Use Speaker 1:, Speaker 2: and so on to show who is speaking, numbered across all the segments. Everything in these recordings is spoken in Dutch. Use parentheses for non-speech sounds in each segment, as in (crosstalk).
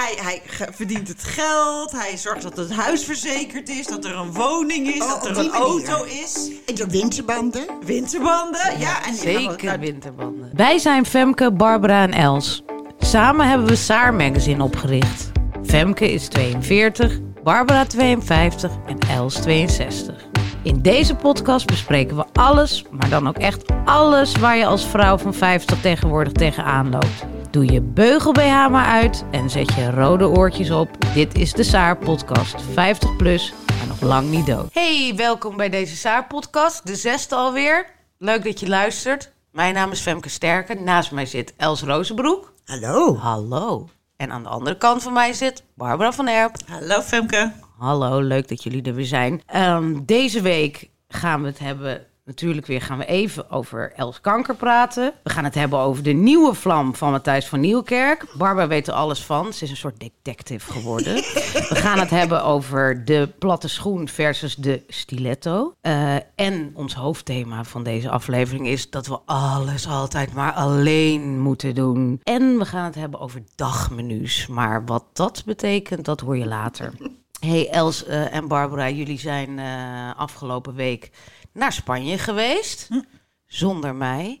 Speaker 1: Hij, hij ge- verdient het geld, hij zorgt dat het huis verzekerd is, dat er een woning is,
Speaker 2: Oh,
Speaker 1: dat
Speaker 2: op
Speaker 1: er
Speaker 2: die
Speaker 1: een
Speaker 2: manier.
Speaker 1: auto is.
Speaker 2: En de winterbanden?
Speaker 1: Winterbanden, ja. en
Speaker 3: Zeker
Speaker 1: Nou,
Speaker 3: winterbanden.
Speaker 4: Wij zijn Femke, Barbara en Els. Samen hebben we Saar Magazine opgericht. Femke is 42, Barbara 52 en Els 62. In deze podcast bespreken we alles, maar dan ook echt alles waar je als vrouw van 50 tegenwoordig tegenaan loopt. Doe je beugel BH maar uit en zet je rode oortjes op. Dit is de Saar Podcast 50 plus, maar nog lang niet dood. Hey, welkom bij deze Saar Podcast, de zesde alweer. Leuk dat je luistert. Mijn naam is Femke Sterken. Naast mij zit Els Rozenbroek.
Speaker 2: Hallo.
Speaker 4: Hallo. En aan de andere kant van mij zit Barbara van Erp.
Speaker 1: Hallo Femke.
Speaker 4: Hallo, leuk dat jullie er weer zijn. Ehm, deze week gaan we het hebben. Natuurlijk weer gaan we even over Els Kanker praten. We gaan het hebben over de nieuwe vlam van Matthijs van Nieuwkerk. Barbara weet er alles van. Ze is een soort detective geworden. we gaan het hebben over de platte schoen versus de stiletto. Eh, en ons hoofdthema van deze aflevering is dat we alles altijd maar alleen moeten doen. En we gaan het hebben over dagmenu's. Maar wat dat betekent, dat hoor je later. Hey Els eh, en Barbara, jullie zijn eh, afgelopen week naar Spanje geweest.
Speaker 2: Hm.
Speaker 4: Zonder
Speaker 2: (laughs)
Speaker 4: mij.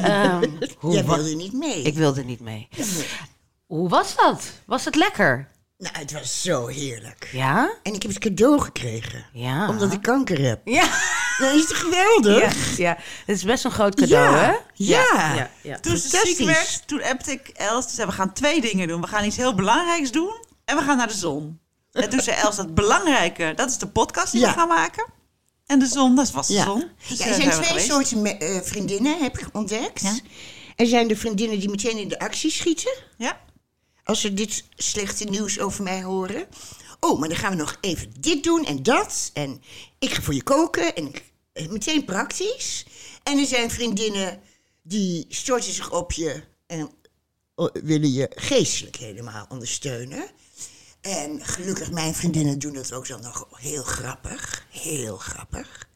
Speaker 4: Ehm, hoe
Speaker 2: Jij
Speaker 4: wa-
Speaker 2: wilde niet mee.
Speaker 4: Ik wilde niet mee. Hoe was dat? Was het lekker?
Speaker 2: Nou, het was zo heerlijk.
Speaker 4: Ja?
Speaker 2: En ik heb het cadeau gekregen.
Speaker 4: Ja.
Speaker 2: Omdat ik kanker heb.
Speaker 4: Ja.
Speaker 2: Dat is toch geweldig?
Speaker 4: ja, ja. Het is best een groot cadeau,
Speaker 2: Ja.
Speaker 4: hè?
Speaker 2: Ja.
Speaker 4: ja, ja.
Speaker 1: Toen ze ziek
Speaker 2: Fantastisch.
Speaker 1: werd, toen appte ik Els. Toen zei, we gaan twee dingen doen. We gaan iets heel belangrijks doen en we gaan naar de zon. En toen zei Els, dat belangrijke, dat is de podcast die
Speaker 2: Ja.
Speaker 1: we gaan maken. En de zon, dat was de
Speaker 2: Ja.
Speaker 1: zon. Dus,
Speaker 2: Ja,
Speaker 1: eh,
Speaker 2: er zijn
Speaker 1: zijn we
Speaker 2: twee
Speaker 1: geweest.
Speaker 2: soorten me- eh, vriendinnen, heb ik ontdekt. Er zijn de vriendinnen die meteen in de actie schieten.
Speaker 1: Ja.
Speaker 2: Als ze dit slechte nieuws over mij horen. Oh, maar dan gaan we nog even dit doen en dat. En ik ga voor je koken. En ik- eh, meteen praktisch. En er zijn vriendinnen die storten zich op je en eh, willen je geestelijk helemaal ondersteunen. En gelukkig, mijn vriendinnen doen dat ook dan nog heel grappig. Heel grappig.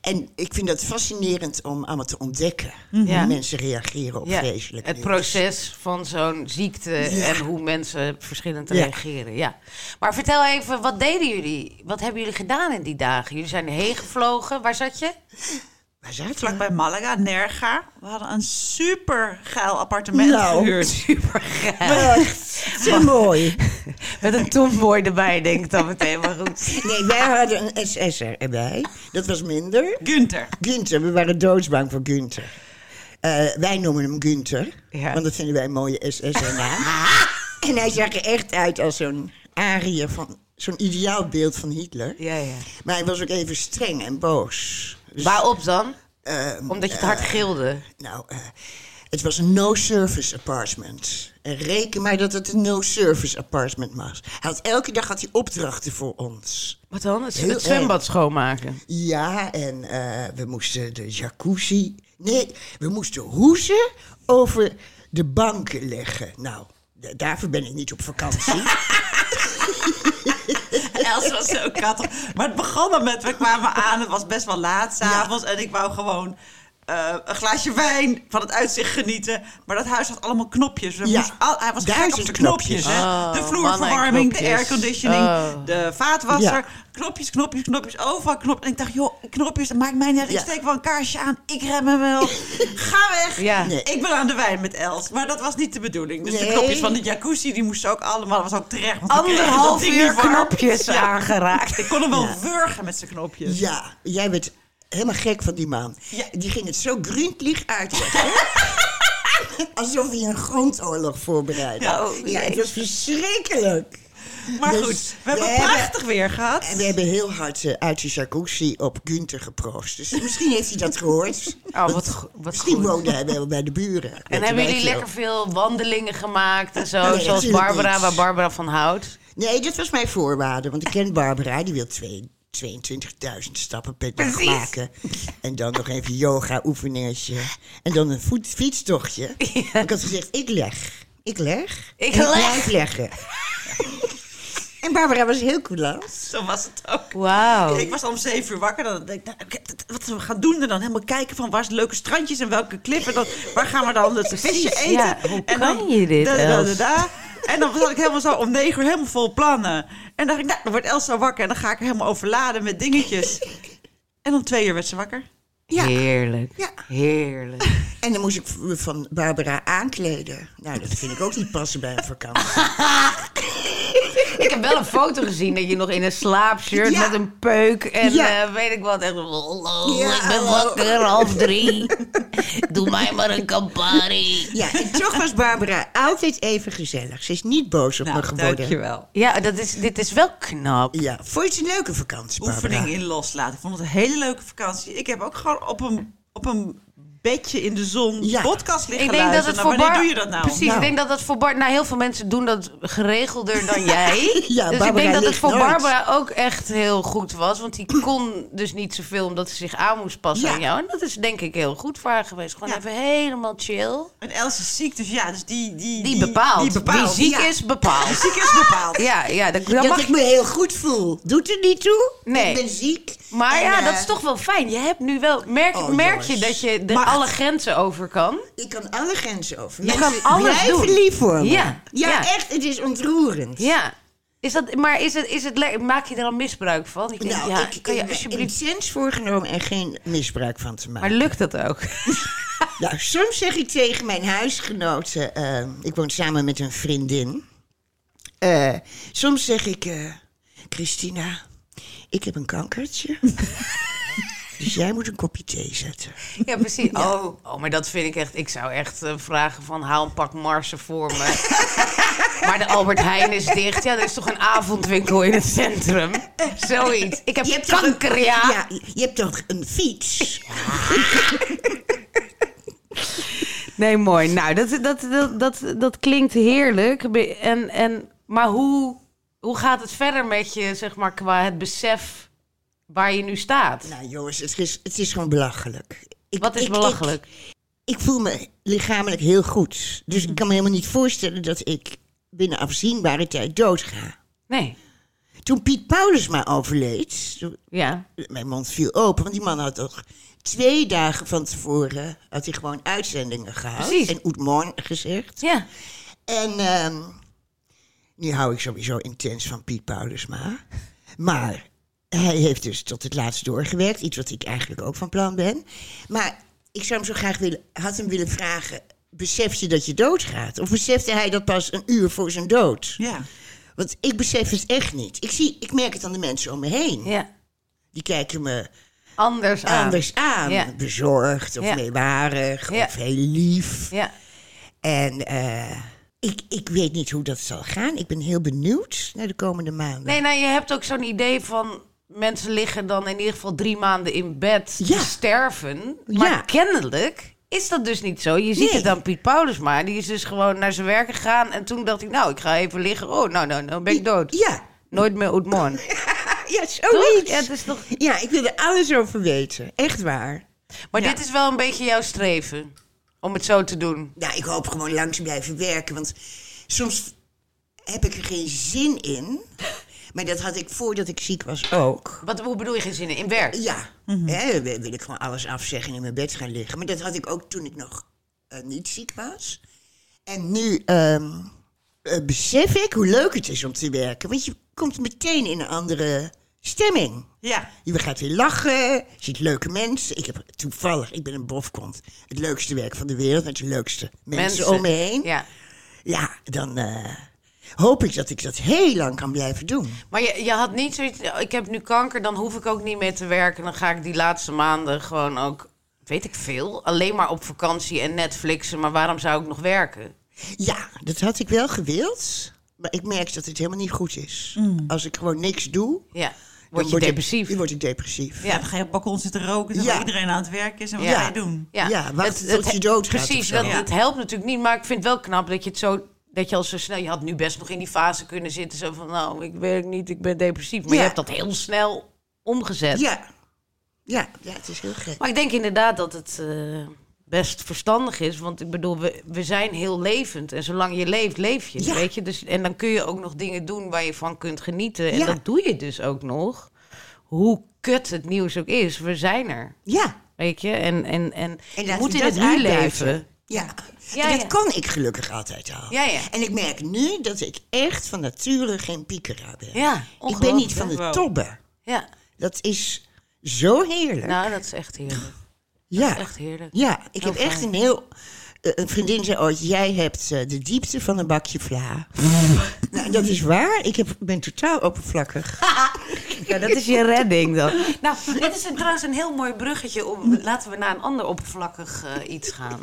Speaker 2: En ik vind dat fascinerend om allemaal te ontdekken.
Speaker 4: Mhm. Ja.
Speaker 2: Hoe mensen reageren op
Speaker 4: Ja.
Speaker 2: geestelijk
Speaker 4: Het
Speaker 2: nieuws.
Speaker 4: proces van zo'n ziekte en hoe mensen verschillend
Speaker 2: Ja.
Speaker 4: reageren. Ja. Maar vertel even, wat deden jullie? Wat hebben jullie gedaan in die dagen? Jullie zijn heen gevlogen. Waar zat je?
Speaker 2: Waar zaten we?
Speaker 1: Vlakbij Malaga, Nerga. We hadden een super geil appartement
Speaker 2: Nou.
Speaker 1: gehuurd. (laughs)
Speaker 4: Super geil. (laughs)
Speaker 2: Echt, te mooi.
Speaker 4: Met een tomboy erbij, denk ik dan meteen. Maar goed.
Speaker 2: Nee, wij hadden een SS'er erbij. Dat was minder.
Speaker 1: Gunther.
Speaker 2: Gunther, we waren doodsbang voor Gunther. Eh, wij noemen hem Gunther,
Speaker 4: Ja.
Speaker 2: want dat vinden wij een mooie SS'er-naam.
Speaker 4: (laughs)
Speaker 2: en hij zag er echt uit als zo'n ariër van... Zo'n ideaal beeld van Hitler.
Speaker 4: Ja, ja.
Speaker 2: Maar hij was ook even streng en boos. Dus,
Speaker 4: Waarop dan?
Speaker 2: ehm,
Speaker 4: Omdat je het hard gilde.
Speaker 2: nou, eh, het was een no-service apartment. En reken maar dat het een no-service apartment was. Hij had, elke dag had hij opdrachten voor ons.
Speaker 4: Wat dan? Het, eh,
Speaker 2: heel
Speaker 4: zwembad
Speaker 2: erg.
Speaker 4: schoonmaken.
Speaker 2: Ja, en eh, we moesten de jacuzzi. Nee, we moesten hoezen over de banken leggen. Nou, d- daarvoor ben ik niet op
Speaker 4: (laughs)
Speaker 2: vakantie.
Speaker 1: (laughs) Els was zo kattig. Maar het begon al met, we kwamen aan, het was best wel laat s'avonds. En ik wou gewoon eh, een glaasje wijn van het uitzicht genieten. Maar dat huis had allemaal knopjes. We
Speaker 2: Ja,
Speaker 1: moesten al, hij was gek op
Speaker 2: duizend
Speaker 1: de knopjes. hè.
Speaker 4: knopjes.
Speaker 1: de
Speaker 4: Oh, mannen en
Speaker 1: vloerverwarming, de
Speaker 4: knopjes.
Speaker 1: airconditioning,
Speaker 4: Oh.
Speaker 1: de vaatwasser.
Speaker 2: Ja.
Speaker 1: Knopjes, knopjes, knopjes, overal knopjes. En ik dacht, joh, knopjes, dat maakt mij niet uit. Ik
Speaker 2: Ja.
Speaker 1: steek wel een kaarsje aan, ik rem hem
Speaker 2: (laughs)
Speaker 1: wel. Ga weg.
Speaker 4: Ja.
Speaker 2: Nee.
Speaker 1: Ik wil aan de wijn met Els. Maar dat was niet de bedoeling. Dus de
Speaker 2: Nee.
Speaker 1: knopjes van de jacuzzi, die moesten ook allemaal, dat was ook terecht. want we kregen dat
Speaker 4: Anderhalf
Speaker 1: ding
Speaker 4: uur
Speaker 1: niet warm.
Speaker 4: knopjes aangeraakt.
Speaker 1: Ik kon hem wel wurgen met zijn knopjes.
Speaker 2: ja, jij bent helemaal gek van die man.
Speaker 1: Ja.
Speaker 2: Die ging het zo gründlich uitleggen.
Speaker 4: (laughs)
Speaker 2: Alsof hij een grondoorlog voorbereidde.
Speaker 1: Ja, oh,
Speaker 4: Nou,
Speaker 2: ja, het was verschrikkelijk.
Speaker 1: Maar
Speaker 2: Dus
Speaker 1: goed, we hebben
Speaker 2: we hebben-
Speaker 1: prachtig weer gehad.
Speaker 2: En we hebben heel hard eh, uit de jacuzzi op Gunther geproost. Dus misschien heeft hij dat
Speaker 4: (laughs)
Speaker 2: gehoord.
Speaker 4: Oh, wat, go- wat
Speaker 2: Misschien
Speaker 4: goed.
Speaker 2: woonde hij wel bij de buren. Weet
Speaker 4: En
Speaker 2: je,
Speaker 4: hebben
Speaker 2: weet
Speaker 4: jullie
Speaker 2: je wel.
Speaker 4: lekker veel wandelingen gemaakt en zo,
Speaker 2: Nee,
Speaker 4: zoals
Speaker 2: natuurlijk
Speaker 4: Barbara,
Speaker 2: niet.
Speaker 4: waar Barbara van houdt?
Speaker 2: Nee, dat was mijn voorwaarde. Want ik ken Barbara, die wil twee- 22.000 stappen per dag maken. En dan nog even yoga-oefeningetje. En dan een voet,
Speaker 4: (laughs)
Speaker 2: fietstochtje. Ik had gezegd, ik leg. Ik leg.
Speaker 4: Ik
Speaker 2: en
Speaker 4: leg.
Speaker 2: Ik blijf leggen. en Barbara was heel coulant.
Speaker 1: Zo was het ook.
Speaker 4: Wauw.
Speaker 1: Ik was al om zeven uur wakker. Dan denk ik, nou, ik- dat- wat we gaan doen. En dan helemaal kijken van waar zijn leuke strandjes en welke klippen. Dan, waar gaan we dan het visje eten?
Speaker 4: ja. Hoe
Speaker 1: en
Speaker 4: kan je dit,
Speaker 1: da, da, da,
Speaker 4: Els?
Speaker 1: da. En dan zat ik helemaal zo om negen uur helemaal vol plannen. En dacht ik, nou, dan wordt Elsa wakker. En dan ga ik haar helemaal overladen met dingetjes. En om twee uur werd ze wakker.
Speaker 2: Ja.
Speaker 4: Heerlijk.
Speaker 2: Ja.
Speaker 4: Heerlijk.
Speaker 2: En dan moest ik v- van Barbara aankleden. Nou, dat vind ik ook niet passen bij een vakantie.
Speaker 4: Ik heb wel een foto gezien dat je nog in een slaapshirt
Speaker 2: Ja.
Speaker 4: met een peuk en
Speaker 2: Ja.
Speaker 4: eh, weet ik wat. Echt, hallo,
Speaker 2: Ja,
Speaker 4: ik ben
Speaker 2: hallo.
Speaker 4: wakker, half drie. Doe mij maar een Campari.
Speaker 2: Ja, en toch was Barbara altijd even gezellig. Ze is niet boos op
Speaker 4: Nou,
Speaker 2: me geworden.
Speaker 1: dankjewel.
Speaker 4: Ja, dat is, dit is wel knap.
Speaker 2: Ja, vond je het een leuke vakantie, Barbara?
Speaker 1: Oefening in loslaten. Ik vond het een hele leuke vakantie. Ik heb ook gewoon op een, op een bedje in de zon
Speaker 2: Ja.
Speaker 1: podcast liggen
Speaker 4: Ik denk dat
Speaker 1: luisteren.
Speaker 4: het
Speaker 1: Nou,
Speaker 4: voor
Speaker 1: wanneer
Speaker 4: Bart...
Speaker 1: doe je dat nou?
Speaker 4: Precies,
Speaker 2: Nou.
Speaker 4: ik denk dat dat voor Bart... Nou, heel veel mensen doen dat geregelder
Speaker 2: (laughs)
Speaker 4: dan jij.
Speaker 2: Ja,
Speaker 4: dus ik
Speaker 2: Barbara
Speaker 4: denk dat het
Speaker 2: ligt
Speaker 4: voor
Speaker 2: nooit.
Speaker 4: Barbara ook echt heel goed was.
Speaker 2: (clears throat)
Speaker 4: Want die kon dus niet zoveel omdat ze zich aan moest passen
Speaker 2: Ja.
Speaker 4: aan jou. En dat is denk ik heel goed voor haar geweest. Gewoon
Speaker 1: Ja.
Speaker 4: even helemaal chill.
Speaker 1: En Els is ziek, dus ja, dus die... Die,
Speaker 4: Die bepaalt.
Speaker 1: Die bepaalt,
Speaker 4: Wie ziek
Speaker 1: ja.
Speaker 4: is, bepaalt.
Speaker 1: Die ziek is bepaald.
Speaker 4: (laughs) Ja, ja dat, dat
Speaker 2: Dat
Speaker 4: mag
Speaker 2: ik me heel goed voel. Doet er niet toe.
Speaker 4: Nee.
Speaker 2: Ik ben ziek.
Speaker 4: Maar
Speaker 2: En,
Speaker 4: ja,
Speaker 2: eh,
Speaker 4: dat is toch wel fijn. Je hebt nu wel. Merk,
Speaker 2: Oh,
Speaker 4: merk je
Speaker 2: jongens.
Speaker 4: dat je de
Speaker 2: Macht.
Speaker 4: alle grenzen over kan?
Speaker 2: Ik kan alle grenzen over.
Speaker 4: Je
Speaker 2: Mensen
Speaker 4: kan alles
Speaker 2: blijven
Speaker 4: doen.
Speaker 2: lief voor me.
Speaker 4: Ja, ja.
Speaker 2: echt. Het is ontroerend.
Speaker 4: Ja. Is dat, maar is het, is het le- maak je er al misbruik van? Ik denk,
Speaker 2: Nou,
Speaker 4: ja,
Speaker 2: ik
Speaker 4: kan je
Speaker 2: heb
Speaker 4: alsjeblieft.
Speaker 2: intens voorgenomen en geen misbruik van te maken.
Speaker 4: Maar lukt dat ook?
Speaker 2: Nou, soms zeg ik tegen mijn huisgenoten... eh, ik woon samen met een vriendin. Eh, soms zeg ik... eh, Christina, ik heb een kankertje. (laughs) dus jij moet een kopje thee zetten.
Speaker 4: (laughs) Ja, precies. Oh, oh, maar dat vind ik echt. Ik zou echt eh, vragen van haal een pak marsen voor me. (laughs) maar de Albert Heijn is dicht. Ja, er is toch een avondwinkel in het (laughs) centrum? Zoiets. Ik heb
Speaker 2: toch een-
Speaker 4: kanker, ja.
Speaker 2: ja. Je hebt toch een fiets? (laughs)
Speaker 4: Nee, mooi. Nou, dat, dat, dat, dat, dat klinkt heerlijk. Be- En, en, maar hoe, hoe gaat het verder met je, zeg maar, qua het besef waar je nu staat?
Speaker 2: Nou jongens, het is, het is gewoon belachelijk. Ik-
Speaker 4: Wat is
Speaker 2: ik-
Speaker 4: belachelijk?
Speaker 2: Ik, ik voel me lichamelijk heel goed. Dus
Speaker 4: Mhm.
Speaker 2: ik kan me helemaal niet voorstellen dat ik binnen afzienbare tijd doodga.
Speaker 4: Nee.
Speaker 2: Toen Piet Paulus maar overleed, toen-
Speaker 4: Ja.
Speaker 2: mijn mond viel open, want die man had toch twee dagen van tevoren had hij gewoon uitzendingen gehad
Speaker 4: Precies.
Speaker 2: en Oetmoorn gezegd.
Speaker 4: Ja.
Speaker 2: En ehm, nu hou ik sowieso intens van Piet Paulusma. Maar hij heeft dus tot het laatst doorgewerkt. Iets wat ik eigenlijk ook van plan ben. Maar ik zou hem zo graag willen, had hem willen vragen... beseft je dat je doodgaat? Of besefte hij dat pas een uur voor zijn dood?
Speaker 1: Ja.
Speaker 2: Want ik besef het echt niet. Ik, zie, ik merk het aan de mensen om me heen.
Speaker 4: ja.
Speaker 2: Die kijken me
Speaker 4: Anders aan.
Speaker 2: anders aan.
Speaker 4: Ja.
Speaker 2: Bezorgd of
Speaker 4: Ja.
Speaker 2: meewarig
Speaker 4: Ja.
Speaker 2: of heel lief.
Speaker 4: Ja.
Speaker 2: En eh, ik, ik weet niet hoe dat zal gaan. Ik ben heel benieuwd naar de komende maanden.
Speaker 4: Nee, nou, je hebt ook zo'n idee van... Mensen liggen dan in ieder geval drie maanden in bed
Speaker 2: Ja.
Speaker 4: te sterven. Maar
Speaker 2: Ja.
Speaker 4: kennelijk is dat dus niet zo. Je ziet
Speaker 2: Nee.
Speaker 4: het aan Piet Paulus maar. Die is dus gewoon naar zijn werk gegaan. En toen dacht ik, nou, ik ga even liggen. Oh, nou, nou, nou ben ik dood.
Speaker 2: Ja,
Speaker 4: Nooit meer Oetmoorn. (laughs)
Speaker 2: ja
Speaker 4: Toch?
Speaker 2: zoiets.
Speaker 4: Ja, het is toch...
Speaker 2: Ja, ik wil er alles over weten. Echt waar.
Speaker 4: Maar dit is wel een beetje jouw streven. Om het zo te doen.
Speaker 2: Nou, ik hoop gewoon lang te blijven werken. Want soms heb ik er geen zin in. Maar dat had ik voordat ik ziek was ook.
Speaker 4: Wat, hoe bedoel je geen zin in? In werk?
Speaker 2: Ja, hè, wil wil ik gewoon alles afzeggen en in mijn bed gaan liggen. Maar dat had ik ook toen ik nog eh, niet ziek was. En nu ehm, eh, besef ik hoe leuk het is om te werken. Want je komt meteen in een andere stemming.
Speaker 1: Ja.
Speaker 2: Je gaat weer lachen, ziet leuke mensen. Ik heb toevallig, ik ben een bofkont. Het leukste werk van de wereld met de leukste mensen, om me heen. Ja,
Speaker 4: Ja.
Speaker 2: dan eh, hoop ik dat ik dat heel lang kan blijven doen.
Speaker 4: Maar je, je had niet zoiets... oh, Ik heb nu kanker, dan hoef ik ook niet meer te werken. Dan ga ik die laatste maanden gewoon ook... Weet ik veel. Alleen maar op vakantie en Netflixen. Maar waarom zou ik nog werken?
Speaker 2: Ja, dat had ik wel gewild. Maar ik merk dat het helemaal niet goed is. Als ik gewoon niks doe,
Speaker 4: Ja.
Speaker 2: dan
Speaker 4: Mm. Word je
Speaker 2: Ik,
Speaker 4: depressief.
Speaker 2: dan word ik depressief.
Speaker 1: Ja, dan ga je op het balkon zitten roken, terwijl
Speaker 2: Ja.
Speaker 1: iedereen aan het werk is. En wat
Speaker 2: Ja.
Speaker 1: ga je doen? (laughs)
Speaker 4: Ja,
Speaker 2: Ja, wacht tot je
Speaker 4: he-
Speaker 2: doodgaat of
Speaker 4: Precies,
Speaker 2: zo.
Speaker 4: dat,
Speaker 1: Ja.
Speaker 4: het helpt natuurlijk niet. Maar ik vind het wel knap dat je het zo... Dat je al zo snel... Je had nu best nog in die fase kunnen zitten. Zo van, nou, ik werk niet, ik ben depressief. Maar
Speaker 2: Ja.
Speaker 4: je hebt dat heel snel omgezet.
Speaker 2: Ja. ja, ja, het is heel gek.
Speaker 4: Maar ik denk inderdaad dat het eh, best verstandig is. Want ik bedoel, we, we zijn heel levend. En zolang je leeft, leef je.
Speaker 2: Ja.
Speaker 4: Weet je? Dus, en dan kun je ook nog dingen doen waar je van kunt genieten. En
Speaker 2: Ja.
Speaker 4: dat doe je dus ook nog. Hoe kut het nieuws ook is, we zijn er.
Speaker 2: Ja.
Speaker 4: Weet je? En, en, en,
Speaker 2: En
Speaker 4: je
Speaker 2: laten
Speaker 4: moet
Speaker 2: we
Speaker 4: in
Speaker 2: dat
Speaker 4: het
Speaker 2: nu
Speaker 4: nu
Speaker 2: blijven.
Speaker 4: leven.
Speaker 2: Ja,
Speaker 4: Ja,
Speaker 2: en dat
Speaker 4: ja.
Speaker 2: kan ik gelukkig altijd al.
Speaker 4: Ja, ja.
Speaker 2: En ik merk nu dat ik echt van nature geen piekeraar ben.
Speaker 4: Ja,
Speaker 2: ik
Speaker 4: ongelooflijk,
Speaker 2: ben niet van
Speaker 4: hè?
Speaker 2: de
Speaker 1: Wow.
Speaker 2: tobben.
Speaker 4: Ja,
Speaker 2: Dat is zo heerlijk.
Speaker 4: nou, dat is echt heerlijk.
Speaker 2: ja.
Speaker 4: Echt heerlijk.
Speaker 2: ja, ik
Speaker 4: Heel
Speaker 2: heb echt
Speaker 4: fijn.
Speaker 2: een heel... eh, Een vriendin zei ooit, jij hebt eh, de diepte van een bakje vla. nou, dat is waar. Ik heb, ben totaal oppervlakkig.
Speaker 4: (laughs) Ja, dat is je redding dan. (laughs) Nou, dit is een, trouwens een heel mooi bruggetje. Om, laten we naar een ander oppervlakkig eh, iets (laughs) gaan.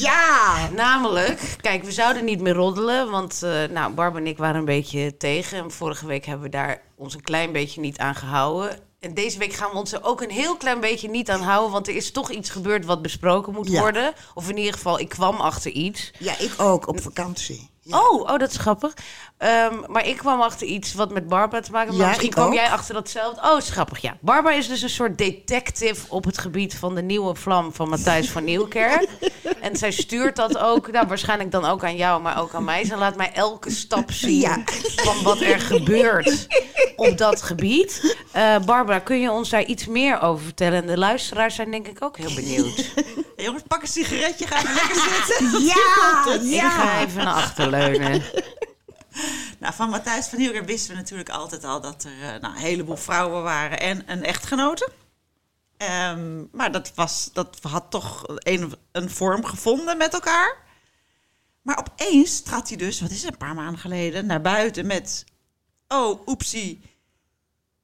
Speaker 2: ja!
Speaker 4: Namelijk, kijk, we zouden niet meer roddelen. Want eh, nou, Barb en ik waren een beetje tegen. En vorige week hebben we daar ons een klein beetje niet aan gehouden. En deze week gaan we ons er ook een heel klein beetje niet aan houden. Want er is toch iets gebeurd wat besproken moet
Speaker 2: Ja.
Speaker 4: worden. Of in ieder geval, ik kwam achter iets.
Speaker 2: Ja, ik ook, op vakantie.
Speaker 4: Oh, oh, dat is grappig. Ehm, maar ik kwam achter iets wat met Barbara te maken had.
Speaker 2: Ja,
Speaker 4: maar misschien
Speaker 2: ik
Speaker 4: kwam
Speaker 2: ook.
Speaker 4: jij achter datzelfde. Oh, is grappig, ja. Barbara is dus een soort detective op het gebied van de nieuwe vlam van Matthijs
Speaker 2: (laughs)
Speaker 4: van Nieuwkerk. en zij stuurt dat ook, nou, waarschijnlijk dan ook aan jou, maar ook aan mij. Ze laat mij elke stap zien
Speaker 2: Ja.
Speaker 4: (laughs) van wat er gebeurt op dat gebied. Eh, Barbara, kun je ons daar iets meer over vertellen? En de luisteraars zijn denk ik ook heel benieuwd.
Speaker 1: Hey, jongens, pak een sigaretje, ga even
Speaker 4: (laughs)
Speaker 1: lekker zitten.
Speaker 2: Ja!
Speaker 4: Ik ga even naar achterleunen.
Speaker 1: Nou, van Matthijs van Nieuwkerk wisten we natuurlijk altijd al dat er eh, nou, een heleboel vrouwen waren en een echtgenote. Ehm, maar dat, was, dat had toch een, een vorm gevonden met elkaar. Maar opeens trad hij dus, wat is het, een paar maanden geleden, naar buiten met... Oh, oepsie,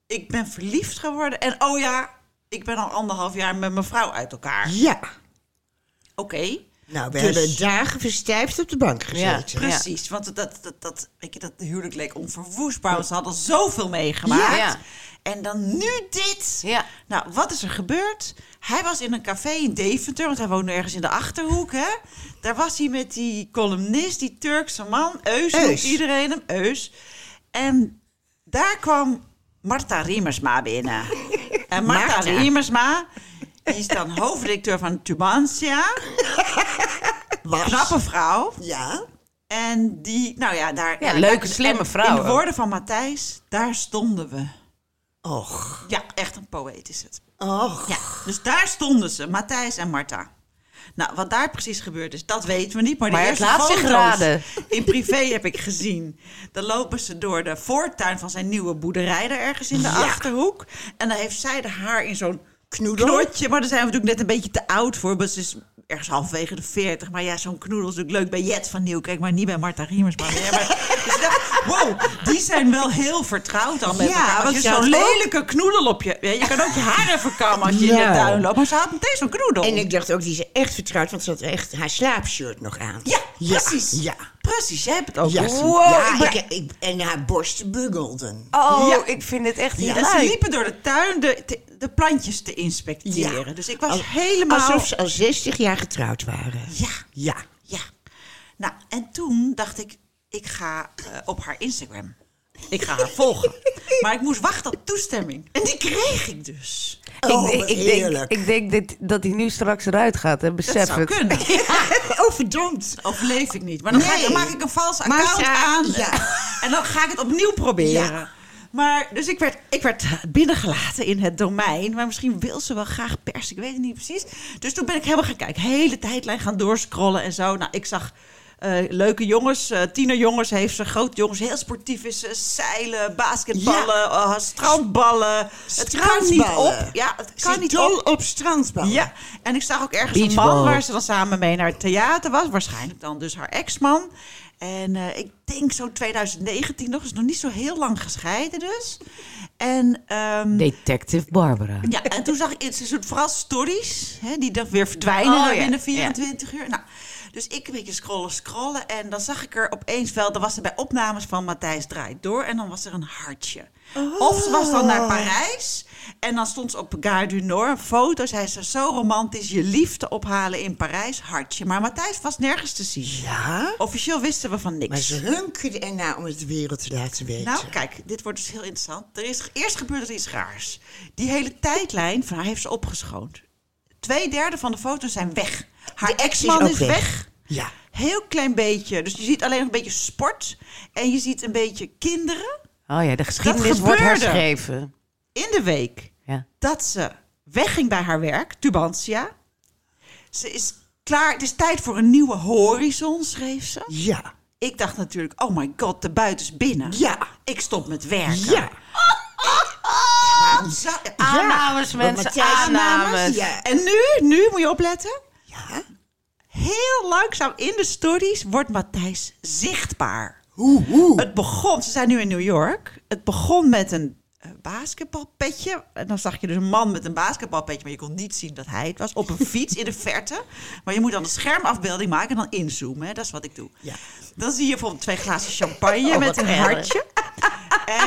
Speaker 1: ik ben verliefd geworden. En oh ja, ik ben al anderhalf jaar met mijn vrouw uit elkaar. Oké.
Speaker 2: Ja. Nou, we
Speaker 1: Dus-
Speaker 2: hebben dagen verstijfd op de bank gezeten.
Speaker 4: Ja.
Speaker 1: Precies, want dat, dat, dat, weet je, dat huwelijk leek onverwoestbaar. want Ze hadden zoveel meegemaakt.
Speaker 4: Ja.
Speaker 1: En dan nu dit.
Speaker 4: Ja.
Speaker 1: Nou, wat is er gebeurd? Hij was in een café in Deventer, want hij woonde ergens in de Achterhoek. Hè? Daar was hij met die columnist, die Turkse man, Eus,
Speaker 2: Eus.
Speaker 1: noemt iedereen hem, Eus. En daar kwam Marta Riemersma binnen.
Speaker 4: (laughs)
Speaker 1: En Marta
Speaker 4: Marta.
Speaker 1: Riemersma, die is dan hoofddirecteur van Tubantia.
Speaker 2: Was.
Speaker 1: Knappe vrouw.
Speaker 2: Ja.
Speaker 1: En die, nou ja, daar...
Speaker 4: Ja,
Speaker 1: daar-
Speaker 4: leuke, slimme vrouw
Speaker 1: In de
Speaker 4: ook.
Speaker 1: woorden van Matthijs, daar stonden we.
Speaker 2: Och.
Speaker 1: Ja, echt een poëet is het.
Speaker 2: Och.
Speaker 1: Ja, dus daar stonden ze, Matthijs en Marta. Nou, wat daar precies gebeurd is, dat weten we niet. Maar,
Speaker 4: Maar
Speaker 1: de
Speaker 4: het
Speaker 1: eerste
Speaker 4: laat zich
Speaker 1: foto's
Speaker 4: raden.
Speaker 1: in privé heb ik gezien. Dan lopen ze door de voortuin van zijn nieuwe boerderij daar ergens in de Achterhoek. En dan heeft zij de haar in zo'n
Speaker 2: Knoedel?
Speaker 1: knotje. Maar daar zijn we natuurlijk net een beetje te oud voor. want Ze is ergens halverwege de 40. Maar ja, zo'n knoedel is natuurlijk leuk bij Jet van Nieuwkerk. Maar niet bij Marta Riemers. Maar, nee,
Speaker 2: (laughs)
Speaker 1: maar- dus ik dacht, wow, die zijn wel heel vertrouwd al met
Speaker 2: Ja,
Speaker 1: elkaar.
Speaker 2: want
Speaker 1: Want je
Speaker 2: je
Speaker 1: hebt zo'n
Speaker 2: had ook-
Speaker 1: lelijke knoedel op je... Ja, je kan ook je haar even kammen als je in
Speaker 2: Nou.
Speaker 1: de tuin loopt. Maar ze had meteen zo'n knoedel.
Speaker 2: En ik dacht ook, die is echt vertrouwd, want ze had echt haar slaapshirt nog aan.
Speaker 1: Ja, precies.
Speaker 2: Ja.
Speaker 1: Precies, jij hebt het ook.
Speaker 2: Ja,
Speaker 1: Wow,
Speaker 2: ja,
Speaker 1: ik ben-
Speaker 2: ik- ik- en haar borsten buggelden.
Speaker 4: Oh,
Speaker 1: Ja.
Speaker 4: ik vind dit echt
Speaker 1: Ja,
Speaker 4: heel
Speaker 1: en ze liepen door de tuin de, te- de plantjes te inspecteren. Dus ik was
Speaker 2: Al-
Speaker 1: helemaal...
Speaker 2: Alsof ze al 60 jaar getrouwd waren.
Speaker 1: Ja,
Speaker 2: Ja.
Speaker 1: ja. Nou, en toen dacht ik, ik ga eh, op haar Instagram. Ik ga haar volgen. Maar ik moest wachten op toestemming. En die kreeg ik dus.
Speaker 2: Oh,
Speaker 4: ik,
Speaker 2: wat
Speaker 4: ik
Speaker 2: heerlijk.
Speaker 4: denk, ik denk dit, dat hij nu straks eruit gaat en
Speaker 1: Dat
Speaker 4: besef
Speaker 1: zou
Speaker 4: het.
Speaker 2: (laughs)
Speaker 1: kunnen. (laughs)
Speaker 2: Oh, verdomd.
Speaker 1: Overleef ik niet. Maar dan, ga ik, dan
Speaker 2: Nee.
Speaker 1: maak ik een vals
Speaker 2: Maar
Speaker 1: account
Speaker 2: ze-
Speaker 1: aan.
Speaker 2: ja.
Speaker 1: (laughs) En dan ga ik het opnieuw proberen.
Speaker 2: Ja.
Speaker 1: Maar, dus ik werd, ik werd binnengelaten in het domein. Maar misschien wil ze wel graag pers. Ik weet het niet precies. Dus toen ben ik helemaal gaan kijken. Hele tijdlijn gaan doorscrollen en zo. Nou, ik zag eh, leuke jongens. eh, tienerjongens heeft ze. Groot jongens. Heel sportief is ze. Zeilen, basketballen, eh, strandballen. Het kan niet
Speaker 2: Strandballen.
Speaker 1: op. Ja, het
Speaker 2: Ze
Speaker 1: kan
Speaker 2: is
Speaker 1: niet
Speaker 2: dol
Speaker 1: op.
Speaker 2: op, strandbal.
Speaker 1: Ja, en ik zag ook ergens een man
Speaker 4: Beachball.
Speaker 1: waar ze dan samen mee naar het theater was. Waarschijnlijk dan dus haar ex-man. En eh, ik denk zo 2019 nog, is nog niet zo heel lang gescheiden dus. En, ehm,
Speaker 4: Detective Barbara.
Speaker 1: ja, en toen zag ik, het is een soort vooral stories, hè, die dan weer verdwijnen
Speaker 4: Oh,
Speaker 1: dan
Speaker 4: ja,
Speaker 1: binnen
Speaker 4: ja.
Speaker 1: 24 uur. Nou, Dus ik een beetje scrollen, scrollen. En dan zag ik er opeens wel, dan was er bij opnames van Matthijs Draait Door. En dan was er een hartje.
Speaker 4: Oh.
Speaker 1: Of ze was dan naar Parijs. En dan stond ze op Gare du Nord, foto's. Hij zei, zo romantisch, je liefde ophalen in Parijs, hartje. Maar Matthijs was nergens te zien.
Speaker 2: Ja,
Speaker 1: Officieel wisten we van niks.
Speaker 2: maar ze hunkerden ernaar om het de wereld te laten weten.
Speaker 1: Nou, kijk, dit wordt dus heel interessant. Er is eerst gebeurd er iets raars. Die hele tijdlijn van haar heeft ze opgeschoond. Tweederde van de foto's zijn weg. Haar
Speaker 2: De ex is
Speaker 1: ex-man
Speaker 2: ook
Speaker 1: is
Speaker 2: weg.
Speaker 1: weg.
Speaker 2: Ja.
Speaker 1: Heel klein beetje. Dus je ziet alleen nog een beetje sport. En je ziet een beetje kinderen
Speaker 4: Oh ja, de geschiedenis wordt
Speaker 1: gebeurde.
Speaker 4: herschreven.
Speaker 1: in de week.
Speaker 4: Ja.
Speaker 1: Dat ze wegging bij haar werk, Tubantia. Ze is klaar. Het is tijd voor een nieuwe horizon, schreef ze.
Speaker 2: ja,
Speaker 1: Ik dacht natuurlijk, oh my god, de buiten is binnen.
Speaker 2: ja,
Speaker 1: Ik stop met werken.
Speaker 2: ja.
Speaker 1: Waarom zou-
Speaker 4: Aannames, mensen,
Speaker 2: Matthijs-
Speaker 4: aannames.
Speaker 2: Ja.
Speaker 1: En nu, nu moet je opletten.
Speaker 2: ja.
Speaker 1: Heel langzaam in de stories wordt Matthijs zichtbaar.
Speaker 2: Hoe, hoe?
Speaker 1: Het begon, ze zijn nu in New York. Het begon met een eh, basketbalpetje. En dan zag je dus een man met een basketbalpetje, maar je kon niet zien dat hij het was. Op een fiets in de verte. Maar je moet dan een schermafbeelding maken en dan inzoomen. Hè? Dat is wat ik doe.
Speaker 2: Ja.
Speaker 1: Dan zie je bijvoorbeeld twee glazen champagne
Speaker 4: Oh, wat
Speaker 1: met een
Speaker 4: erg.
Speaker 1: hartje.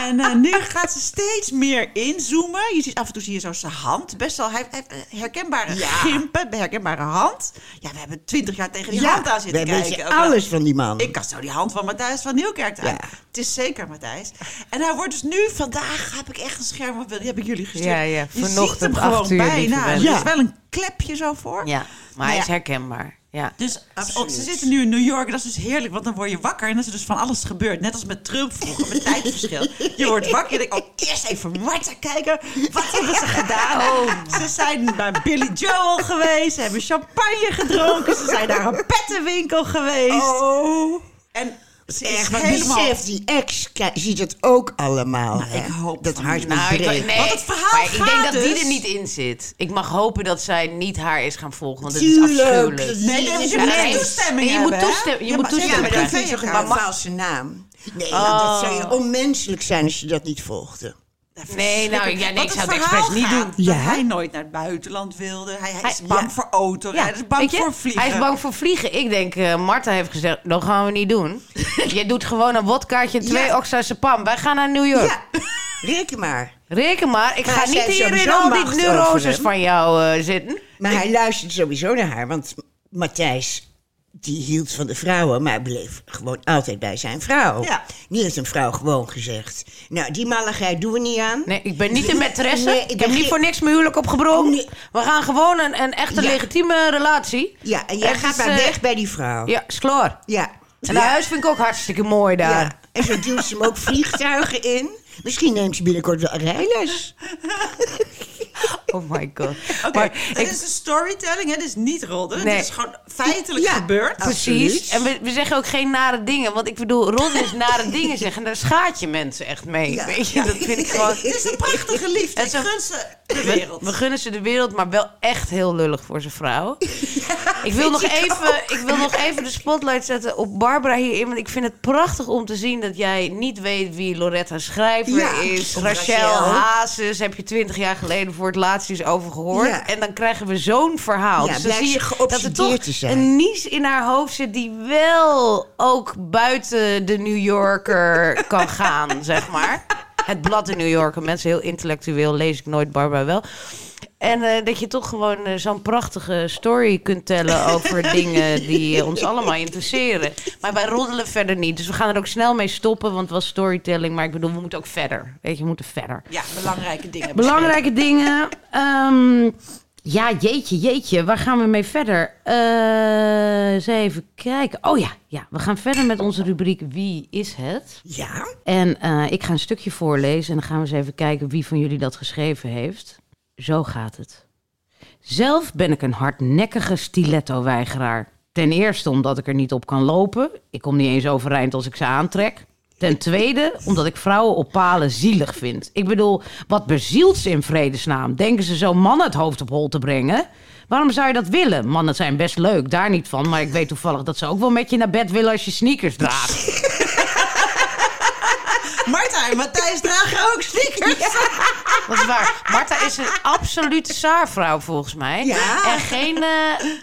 Speaker 1: En eh, nu gaat ze steeds meer inzoomen. Je ziet af en toe zie je zo zijn hand. Best wel, hij heeft eh, herkenbare
Speaker 2: Ja.
Speaker 1: gimpen, herkenbare hand. Ja, we hebben twintig jaar tegen die
Speaker 2: ja,
Speaker 1: hand aan zitten
Speaker 2: wij
Speaker 1: kijken.
Speaker 2: weten
Speaker 1: Ook wel-
Speaker 2: alles van die man.
Speaker 1: ik kan zo die hand van Matthijs van Nieuwkerk aan.
Speaker 2: Ja.
Speaker 1: Het is zeker Matthijs. En hij wordt dus nu, vandaag heb ik echt een scherm op, die heb ik jullie gestuurd.
Speaker 4: Ja, ja,
Speaker 1: je
Speaker 4: vanochtend
Speaker 1: ziet hem
Speaker 4: acht
Speaker 1: gewoon
Speaker 4: uur, lieve
Speaker 1: bijna. Er
Speaker 4: mensen.
Speaker 1: is wel een klepje zo voor.
Speaker 4: Ja, maar hij
Speaker 1: Ja.
Speaker 4: is herkenbaar. Ja.
Speaker 1: Dus
Speaker 2: Absoluut.
Speaker 1: oh, ze zitten nu in New York, dat is dus heerlijk, want dan word je wakker en dan is er dus van alles gebeurd. Net als met Trump vroeger, met tijdverschil. Je wordt wakker en je denkt, oh, eerst even Marta kijken, wat hebben ze gedaan? Ze zijn bij Billy Joel geweest, ze hebben champagne gedronken, ze zijn naar een pettenwinkel geweest.
Speaker 2: Oh.
Speaker 1: En ze is
Speaker 2: Echt, maar
Speaker 1: helemaal... Nou,
Speaker 2: besef, die ex ki- ziet het ook allemaal. hè?
Speaker 1: ik hoop
Speaker 2: dat
Speaker 1: van
Speaker 2: hart
Speaker 1: niet.
Speaker 2: moet
Speaker 4: Nou, ik,
Speaker 2: breken.
Speaker 4: nee,
Speaker 1: Want het verhaal
Speaker 4: maar ik denk
Speaker 1: gaat
Speaker 4: dat die
Speaker 1: dus-
Speaker 4: er niet in zit. Ik mag hopen dat zij niet haar is gaan volgen, want het is
Speaker 2: Tuurlijk.
Speaker 4: afschuwelijk.
Speaker 2: Nee,
Speaker 1: nee,
Speaker 4: Het is
Speaker 1: je moet
Speaker 4: ineens-
Speaker 1: toestemming
Speaker 4: en je moet
Speaker 1: hebben, hè?
Speaker 4: toestemming. Je
Speaker 1: Ja,
Speaker 4: moet
Speaker 1: maar ze
Speaker 2: Ja,
Speaker 4: toestemming
Speaker 2: maar dat
Speaker 4: krijgen.
Speaker 2: vind je ook
Speaker 1: Maar
Speaker 2: een
Speaker 1: mag-
Speaker 2: valse naam. Nee, want dat zou je onmenselijk zijn als je dat niet volgde.
Speaker 4: Nee, nou, ja, nee, ik zou het
Speaker 1: verhaal
Speaker 4: expres niet
Speaker 1: gaat Dat
Speaker 4: doen.
Speaker 2: Ja.
Speaker 1: hij nooit naar het buitenland wilde. Hij, hij is
Speaker 4: Hij-
Speaker 1: bang
Speaker 4: ja.
Speaker 1: voor auto.
Speaker 4: Ja,
Speaker 1: hij is bang
Speaker 4: weet je?
Speaker 1: voor vliegen.
Speaker 4: Hij is bang voor vliegen. Ik denk, eh, Marta heeft gezegd, dat gaan we niet doen.
Speaker 1: (laughs)
Speaker 4: je doet gewoon een wodkaartje en twee
Speaker 2: Ja.
Speaker 4: oxa's pam. Wij gaan naar New
Speaker 2: (laughs)
Speaker 4: York.
Speaker 2: Ja, reken maar.
Speaker 4: Reken maar, ik
Speaker 2: Maar
Speaker 4: ga
Speaker 2: zij
Speaker 4: niet
Speaker 2: heeft
Speaker 4: hier in
Speaker 2: sowieso
Speaker 4: al die
Speaker 2: macht over
Speaker 4: neuroses
Speaker 2: hem.
Speaker 4: van jou eh, zitten.
Speaker 2: Maar hij luisterde sowieso naar haar, want Matthijs die hield van de vrouwen, maar bleef gewoon altijd bij zijn vrouw.
Speaker 1: Ja.
Speaker 2: Die heeft een vrouw gewoon gezegd. Nou, die malligheid doen we niet aan.
Speaker 4: Nee, ik ben niet de maîtresse.
Speaker 2: Nee,
Speaker 4: ik,
Speaker 2: ik
Speaker 4: heb
Speaker 2: ben
Speaker 4: niet
Speaker 2: geen-
Speaker 4: voor niks mijn huwelijk opgebroken.
Speaker 2: Nee.
Speaker 4: We gaan gewoon een, een echte
Speaker 2: Ja.
Speaker 4: legitieme relatie.
Speaker 2: Ja, en jij
Speaker 4: Het
Speaker 2: gaat
Speaker 4: is,
Speaker 2: maar
Speaker 4: eh,
Speaker 2: weg bij die vrouw.
Speaker 4: Ja, is klaar.
Speaker 2: Ja.
Speaker 4: En haar huis vind ik ook hartstikke mooi daar.
Speaker 2: Ja. En zo duwt ze hem ook vliegtuigen in. Misschien neemt ze binnenkort wel rijles.
Speaker 4: Oh my
Speaker 2: (laughs)
Speaker 4: god.
Speaker 1: Oké,
Speaker 4: Maar
Speaker 1: dit
Speaker 4: ik-
Speaker 1: is een storytelling. hè, Dit is niet rodden.
Speaker 4: Nee.
Speaker 1: Dit is gewoon feitelijk
Speaker 2: Ja.
Speaker 1: gebeurd.
Speaker 2: Ah.
Speaker 4: precies.
Speaker 2: absoluut.
Speaker 4: En we, we zeggen ook geen nare dingen. Want ik bedoel, Ron is nare (laughs) dingen zeggen. Daar schaat je mensen echt mee.
Speaker 2: Ja.
Speaker 4: Weet je, dat vind ik gewoon...
Speaker 1: Het is een prachtige liefde. Ik
Speaker 4: Het is een-
Speaker 1: gun ze de
Speaker 4: We,
Speaker 1: wereld.
Speaker 4: we gunnen ze de wereld, maar wel echt heel lullig voor zijn
Speaker 2: (laughs)
Speaker 4: vrouw. ik, wil nog even, ik wil nog even de spotlight zetten op Barbara hierin. Want ik vind het prachtig om te zien dat jij niet weet wie Loretta Schrijver
Speaker 2: Ja,
Speaker 4: is.
Speaker 2: of
Speaker 4: Rachel
Speaker 2: Rachel.
Speaker 4: Hazes heb je twintig jaar geleden voor het laatst eens over gehoord.
Speaker 2: Ja.
Speaker 4: En dan krijgen we zo'n verhaal.
Speaker 2: Ja,
Speaker 4: dus dan
Speaker 2: blijkt
Speaker 4: zie je
Speaker 2: ze
Speaker 4: dat er
Speaker 2: geobsedeerd
Speaker 4: toch
Speaker 2: te zijn.
Speaker 4: een nies in haar hoofd zit die wel ook buiten de New
Speaker 2: (laughs)
Speaker 4: Yorker kan gaan, zeg maar. Het blad de New Yorker, mensen heel intellectueel, lees ik nooit, Barbara wel. En eh, dat je toch gewoon eh, zo'n prachtige story kunt tellen over
Speaker 2: (laughs)
Speaker 4: dingen die eh, ons allemaal interesseren. Maar wij roddelen verder niet, dus we gaan er ook snel mee stoppen, want het was storytelling. Maar ik bedoel, we moeten ook verder. Weet je, we moeten verder.
Speaker 1: Ja, belangrijke dingen.
Speaker 4: Belangrijke dingen. Ehm, ja, jeetje, jeetje. Waar gaan we mee verder? Eh, eens even kijken. Oh ja, ja, we gaan verder met onze rubriek Wie is het?
Speaker 2: Ja.
Speaker 4: En eh, ik ga een stukje voorlezen en dan gaan we eens even kijken wie van jullie dat geschreven heeft. Zo gaat het. Zelf ben ik een hardnekkige stiletto-weigeraar. Ten eerste omdat ik er niet op kan lopen. Ik kom niet eens overeind als ik ze aantrek. Ten tweede omdat ik vrouwen op palen zielig vind. Ik bedoel, wat bezielt ze in vredesnaam? Denken ze zo'n man het hoofd op hol te brengen? Waarom zou je dat willen? Mannen zijn best leuk, daar niet van. Maar ik weet
Speaker 2: (laughs)
Speaker 4: toevallig dat ze ook wel met je naar bed willen als je sneakers draagt.
Speaker 1: Marta zijn. Matthijs draagt ook sneakers.
Speaker 4: Dat is waar. Marta is een absolute zaarvrouw volgens mij.
Speaker 2: Ja.
Speaker 4: En geen, eh,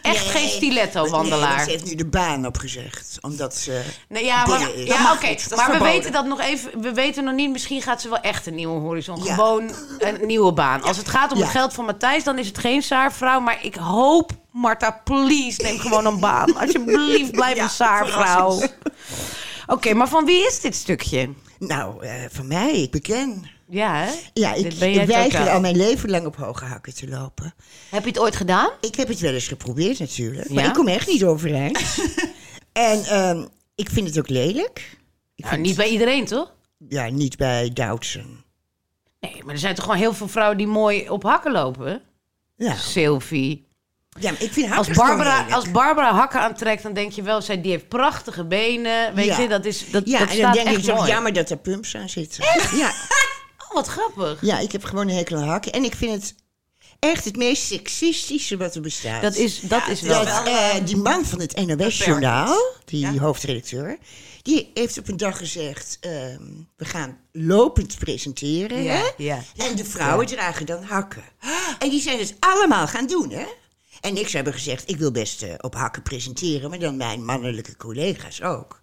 Speaker 4: echt geen
Speaker 2: Nee, maar
Speaker 4: stiletto-wandelaar.
Speaker 2: ze heeft nu de baan opgezegd. Omdat ze...
Speaker 4: Nee, ja, maar,
Speaker 2: Dingen is.
Speaker 4: ja,
Speaker 2: Dat mag
Speaker 4: oké.
Speaker 2: niet. Dat is
Speaker 4: maar we
Speaker 1: verboden.
Speaker 4: weten dat nog even. We weten nog niet. Misschien gaat ze wel echt een nieuwe horizon.
Speaker 2: Ja.
Speaker 4: Gewoon een nieuwe baan. Als het gaat om
Speaker 2: Ja.
Speaker 4: het geld van Matthijs, dan is het geen zaarvrouw. Maar ik hoop, Marta, please, neem gewoon een
Speaker 2: (laughs)
Speaker 4: baan. Alsjeblieft, blijf
Speaker 1: Ja,
Speaker 4: een zaarvrouw. Oké, maar van wie is dit stukje?
Speaker 2: Nou, eh, van mij, ik beken.
Speaker 4: Ja, hè?
Speaker 2: Ja,
Speaker 4: Dit
Speaker 2: ik,
Speaker 4: ben jij
Speaker 2: ik
Speaker 4: totaal.
Speaker 2: weiger al mijn leven lang op hoge hakken te lopen.
Speaker 4: Heb je het ooit gedaan?
Speaker 2: Ik heb het wel eens geprobeerd natuurlijk.
Speaker 4: Ja?
Speaker 2: Maar ik kom echt niet overeind. en ehm, ik vind het ook lelijk. Ik
Speaker 4: Nou,
Speaker 2: vind-
Speaker 4: niet bij iedereen, toch?
Speaker 2: Ja, niet bij Doutzen.
Speaker 4: Nee, maar er zijn toch gewoon heel veel vrouwen die mooi op hakken lopen?
Speaker 2: Ja.
Speaker 4: Sylvie.
Speaker 2: ja, maar ik vind
Speaker 4: Als
Speaker 2: hakken gewoon
Speaker 4: Barbara,
Speaker 2: lelijk.
Speaker 4: als Barbara hakken aantrekt, dan denk je wel, zij die heeft prachtige benen. Weet
Speaker 2: Ja.
Speaker 4: je, dat is dat,
Speaker 2: Ja,
Speaker 4: dat
Speaker 2: en dan
Speaker 4: staat
Speaker 2: denk ik
Speaker 4: echt
Speaker 2: zo,
Speaker 4: mooi.
Speaker 2: jammer dat er pumps aan zitten. Ja,
Speaker 4: Oh, wat grappig.
Speaker 2: ja, ik heb gewoon een hekel aan hakken. En ik vind het echt het meest seksistische wat er bestaat.
Speaker 4: Dat is, dat is wel.
Speaker 2: Dat, eh, die man van het NOS-journaal, die hoofdredacteur, die heeft op een dag gezegd: ehm, we gaan lopend presenteren.
Speaker 4: Ja,
Speaker 2: hè?
Speaker 4: ja.
Speaker 2: En de vrouwen dragen dan hakken. En die zijn het allemaal gaan doen, hè? En ik zou hebben gezegd: ik wil best eh, op hakken presenteren, maar dan mijn mannelijke collega's
Speaker 4: (laughs)
Speaker 2: ook.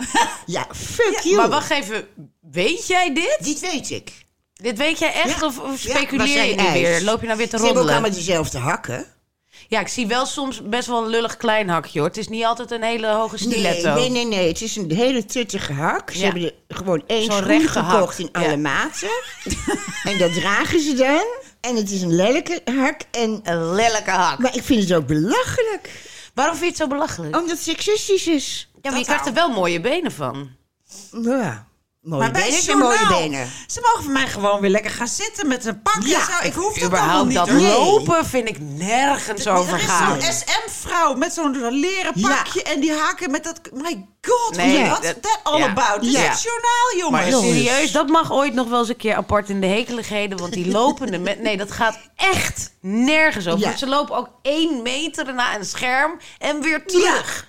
Speaker 2: ja, fuck you.
Speaker 4: maar wacht even, weet jij dit?
Speaker 2: Dit weet ik.
Speaker 4: Dit weet jij echt?
Speaker 2: Ja.
Speaker 4: Of, of
Speaker 2: Ja,
Speaker 4: speculeer
Speaker 2: was hij
Speaker 4: je nu
Speaker 2: ijs?
Speaker 4: weer? Loop je nou weer te
Speaker 2: Ze hebben ook allemaal
Speaker 4: roddelen?
Speaker 2: dezelfde hakken.
Speaker 4: Ja, ik zie wel soms best wel een lullig klein hakje hoor. Het is niet altijd een hele hoge stiletto.
Speaker 2: Nee, nee, nee, nee. Het is een hele tuttige hak. Ze
Speaker 4: Ja.
Speaker 2: hebben er gewoon één
Speaker 4: Zo'n
Speaker 2: schoen
Speaker 4: rechte hak.
Speaker 2: gekocht in alle
Speaker 4: Ja.
Speaker 2: maten. en dat dragen ze dan. En het is een lelijke hak. En,
Speaker 4: Een lelijke hak.
Speaker 2: maar ik vind het ook belachelijk.
Speaker 4: Waarom vind je het zo belachelijk?
Speaker 2: Omdat het seksistisch is.
Speaker 4: ja, maar je krijgt er wel mooie benen van.
Speaker 2: Ja. Mooie
Speaker 1: Maar bij
Speaker 2: benen
Speaker 1: het
Speaker 2: zijn mooie
Speaker 1: journaal,
Speaker 2: benen.
Speaker 1: Ze mogen voor mij gewoon weer lekker gaan zitten met een pak
Speaker 2: Ja,
Speaker 1: en zo. Ik hoef dat allemaal
Speaker 4: Überhaupt
Speaker 1: niet.
Speaker 4: dat
Speaker 1: hoor.
Speaker 2: Nee.
Speaker 4: lopen vind ik nergens over
Speaker 1: Er is
Speaker 4: gaan.
Speaker 1: zo'n SM-vrouw met zo'n leren
Speaker 2: Ja.
Speaker 1: pakje en die haken met dat... My god,
Speaker 4: Nee,
Speaker 1: what's
Speaker 4: dat-
Speaker 1: that all
Speaker 4: ja.
Speaker 1: about? Dit
Speaker 4: Ja.
Speaker 1: is het journaal, jongens.
Speaker 4: Maar
Speaker 2: jongens.
Speaker 4: serieus, dat mag ooit nog wel eens een keer apart in de hekeligheden. Want die lopende... me- nee, dat gaat echt nergens over.
Speaker 2: Ja.
Speaker 4: Want ze lopen ook één meter naar een scherm en weer terug.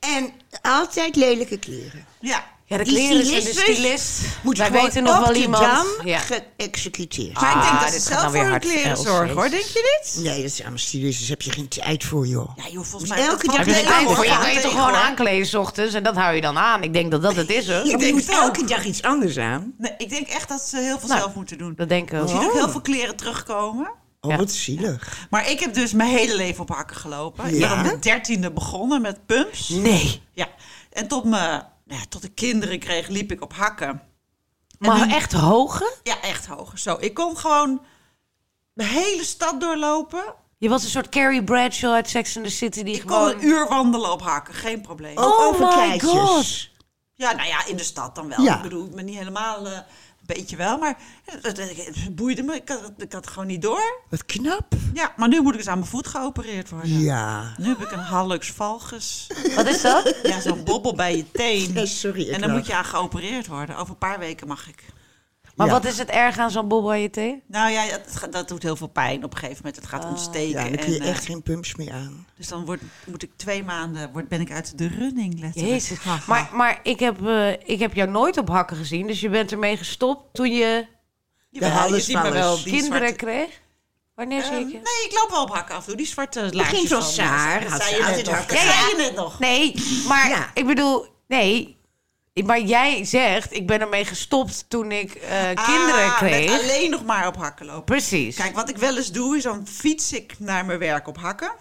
Speaker 2: En altijd lelijke kleren.
Speaker 1: Ja.
Speaker 4: Ja, de
Speaker 2: Die
Speaker 4: kleren zijn de
Speaker 2: stylistes
Speaker 4: stylist.
Speaker 2: Moet
Speaker 4: Wij
Speaker 2: gewoon
Speaker 4: weten nog
Speaker 2: op
Speaker 4: wel
Speaker 2: de
Speaker 4: iemand.
Speaker 2: dam
Speaker 4: Ja.
Speaker 2: geëxecuteerd.
Speaker 1: Maar ik denk
Speaker 4: Ah,
Speaker 1: dat ze
Speaker 4: dit gaat
Speaker 1: zelf
Speaker 4: nou weer
Speaker 1: voor hun
Speaker 4: hard
Speaker 1: kleren
Speaker 4: voor
Speaker 1: zorgen,
Speaker 4: Elsie.
Speaker 1: hoor. Denk je niet?
Speaker 2: Nee, dat zijn allemaal stylisten. Daar dus heb je geen tijd voor, joh.
Speaker 1: Ja, joh, volgens
Speaker 2: Dus
Speaker 1: mij...
Speaker 2: elke
Speaker 1: dat
Speaker 2: dag
Speaker 1: valt
Speaker 2: ben
Speaker 4: Je
Speaker 2: je
Speaker 1: wel
Speaker 4: tijd
Speaker 2: aan,
Speaker 1: hoor.
Speaker 4: voor je
Speaker 2: hoor.
Speaker 4: kan je
Speaker 1: Tegen,
Speaker 4: toch gewoon
Speaker 1: hoor.
Speaker 4: aankleden 's ochtends en dat hou je dan aan. Ik denk dat dat het is hoor.
Speaker 2: Je
Speaker 1: denk
Speaker 2: moet
Speaker 1: het ook.
Speaker 2: elke dag iets anders aan.
Speaker 1: Nee, ik denk echt dat ze heel veel
Speaker 4: Nou,
Speaker 1: zelf moeten doen.
Speaker 4: Dat Oh. denk ik ook.
Speaker 1: Je ziet ook heel veel kleren terugkomen.
Speaker 2: Oh,
Speaker 4: Ja.
Speaker 2: wat zielig.
Speaker 1: Maar ik heb dus mijn hele leven op hakken gelopen. Ik
Speaker 2: Ja?
Speaker 1: ben op mijn dertiende begonnen met pumps.
Speaker 4: Nee.
Speaker 1: Ja. En tot, mijn, nou ja, tot ik kinderen kreeg, liep ik op hakken.
Speaker 4: Maar echt hoge?
Speaker 1: Ja, echt hoger. Zo, ik kon gewoon de hele stad doorlopen.
Speaker 4: Je was een soort Carrie Bradshaw uit Sex and the City die
Speaker 1: Ik kon
Speaker 4: gewoon...
Speaker 1: een uur wandelen op hakken, geen probleem.
Speaker 2: Ook
Speaker 4: Oh
Speaker 2: over
Speaker 4: my
Speaker 2: kleedjes.
Speaker 4: God.
Speaker 1: Ja, nou ja, in de stad dan wel.
Speaker 2: Ja.
Speaker 1: Ik bedoel, ik ben niet helemaal... eh, een beetje wel, maar het, het- het boeide me. Ik had, het- ik had het gewoon niet door.
Speaker 2: Wat knap.
Speaker 1: Ja, maar nu moet ik dus aan mijn voet geopereerd worden.
Speaker 2: Ja.
Speaker 1: Nu heb ik een hallux valgus.
Speaker 4: Wat is dat?
Speaker 1: Ja,
Speaker 2: (laughs)
Speaker 1: zo'n bobbel bij je teen.
Speaker 2: Nee, sorry, ik
Speaker 1: en dan
Speaker 2: lach.
Speaker 1: moet je aan geopereerd worden. Over een paar weken mag ik.
Speaker 4: Maar
Speaker 2: Ja.
Speaker 4: wat is het erg aan zo'n bobbel aan je thee?
Speaker 1: Nou ja, dat, ga- dat doet heel veel pijn op een gegeven moment. Het gaat ontsteken.
Speaker 2: Ah, Ja, dan
Speaker 1: en,
Speaker 2: kun je
Speaker 1: eh,
Speaker 2: echt geen pumps meer aan.
Speaker 1: dus dan word, moet ik twee maanden word, ben ik uit de running letterlijk.
Speaker 4: Jezus. Maar, maar ik, heb, eh, ik heb jou nooit op hakken gezien. Dus je bent ermee gestopt toen je
Speaker 1: Jawel,
Speaker 2: De
Speaker 1: je ziet me wel
Speaker 2: hallesvallers.
Speaker 1: die
Speaker 4: kinderen
Speaker 1: zwarte- Ehm,
Speaker 4: kreeg. Wanneer zie ik je?
Speaker 1: Nee, ik loop wel op hakken af en toe. Die zwarte laarsjes
Speaker 2: ging van
Speaker 1: me.
Speaker 2: Saar,
Speaker 1: Dat
Speaker 2: had
Speaker 1: zei
Speaker 2: ze
Speaker 1: je net
Speaker 2: altijd
Speaker 1: nog.
Speaker 2: hakken.
Speaker 1: Dat
Speaker 4: Ja,
Speaker 1: zei
Speaker 4: ja.
Speaker 1: je net nog.
Speaker 4: Nee, maar
Speaker 2: Ja.
Speaker 4: ik bedoel, nee. Maar jij zegt, ik ben ermee gestopt toen ik eh, kinderen
Speaker 1: Ah,
Speaker 4: kreeg.
Speaker 1: Met alleen nog maar op hakken lopen.
Speaker 4: Precies.
Speaker 1: Kijk, wat ik wel eens doe, is dan fiets ik naar mijn werk op hakken.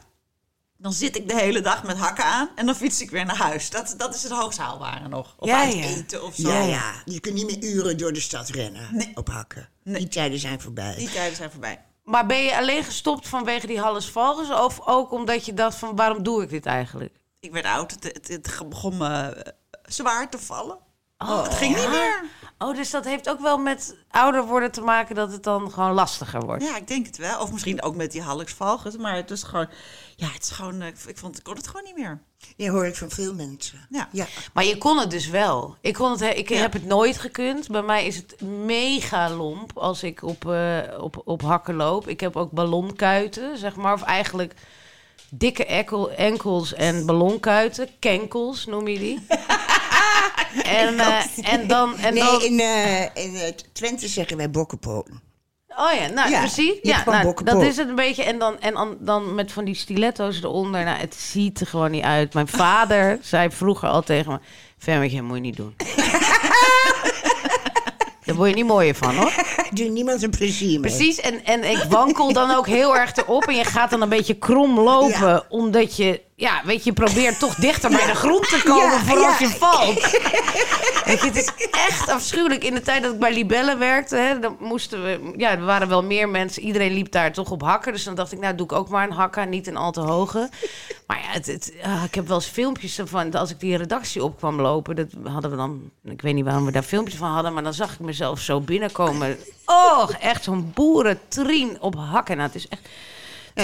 Speaker 1: Dan zit ik de hele dag met hakken aan en dan fiets ik weer naar huis. Dat, dat is het hoogst haalbare nog. Of
Speaker 4: Ja,
Speaker 1: uit
Speaker 4: ja.
Speaker 1: eten of zo.
Speaker 2: Ja, ja. Je kunt niet meer uren door de stad rennen
Speaker 1: Nee.
Speaker 2: op hakken.
Speaker 1: Nee.
Speaker 2: Die tijden zijn voorbij.
Speaker 1: Die tijden zijn voorbij.
Speaker 4: Maar ben je alleen gestopt vanwege die Halles Valgens? Of ook omdat je dacht van, waarom doe ik dit eigenlijk?
Speaker 1: Ik werd oud, het, het, het begon me eh, zwaar te vallen. het ging niet meer.
Speaker 4: Oh, dus dat heeft ook wel met ouder worden te maken dat het dan gewoon lastiger wordt.
Speaker 1: Ja, ik denk het wel. Of misschien ook met die Hallux Valgus. Maar het is gewoon... Ja, het is gewoon... eh, Ik, ik vond, ik kon het gewoon niet meer.
Speaker 2: Die hoor ik van veel mensen.
Speaker 1: Ja.
Speaker 2: ja.
Speaker 4: Maar je kon het dus wel. Ik, kon het, he- ik heb het nooit gekund. Bij mij is het mega lomp als ik op, eh, op, op hakken loop. Ik heb ook ballonkuiten, zeg maar. Of eigenlijk
Speaker 2: (laughs)
Speaker 4: dikke ekkel, enkels en ballonkuiten. Kenkels noem je die. En, eh, en dan... En dan
Speaker 2: Nee, in, eh, in eh, Twente zeggen wij bokkenpoten. (laughs)
Speaker 4: Oh ja, nou
Speaker 2: Ja,
Speaker 4: precies.
Speaker 2: je hebt
Speaker 4: Ja,
Speaker 2: gewoon
Speaker 4: nou,
Speaker 2: bokkenpop.
Speaker 4: dat is het een beetje. En dan, en dan- dan met van die stiletto's eronder. Nou, het ziet er gewoon niet uit. Mijn
Speaker 2: (laughs)
Speaker 4: vader zei vroeger al tegen me... Femmetje, moet je niet doen. Daar word je niet mooier van, hoor.
Speaker 2: Doe niemand een plezier mee.
Speaker 4: Precies, en, en ik wankel dan ook heel erg erop. En je gaat dan een beetje krom lopen.
Speaker 2: Ja.
Speaker 4: Omdat je, ja, weet je, je probeert toch dichter bij de grond te komen...
Speaker 2: Ja,
Speaker 4: voor als
Speaker 2: ja.
Speaker 4: je valt. Weet je, het is echt afschuwelijk. In de tijd dat ik bij Libelle werkte, hè, dan moesten we, ja, er waren wel meer mensen. Iedereen liep daar toch op hakken. Dus dan dacht ik, nou doe ik ook maar een hakka, niet een al te hoge. Maar ja, het, het, ah, ik heb wel eens filmpjes ervan. Als ik die redactie op kwam lopen, dat hadden we dan. Ik weet niet waarom we daar filmpjes van hadden, maar dan zag ik mezelf zo binnenkomen. Oh, echt zo'n boerentrien op hakken. Nou, het is echt. Het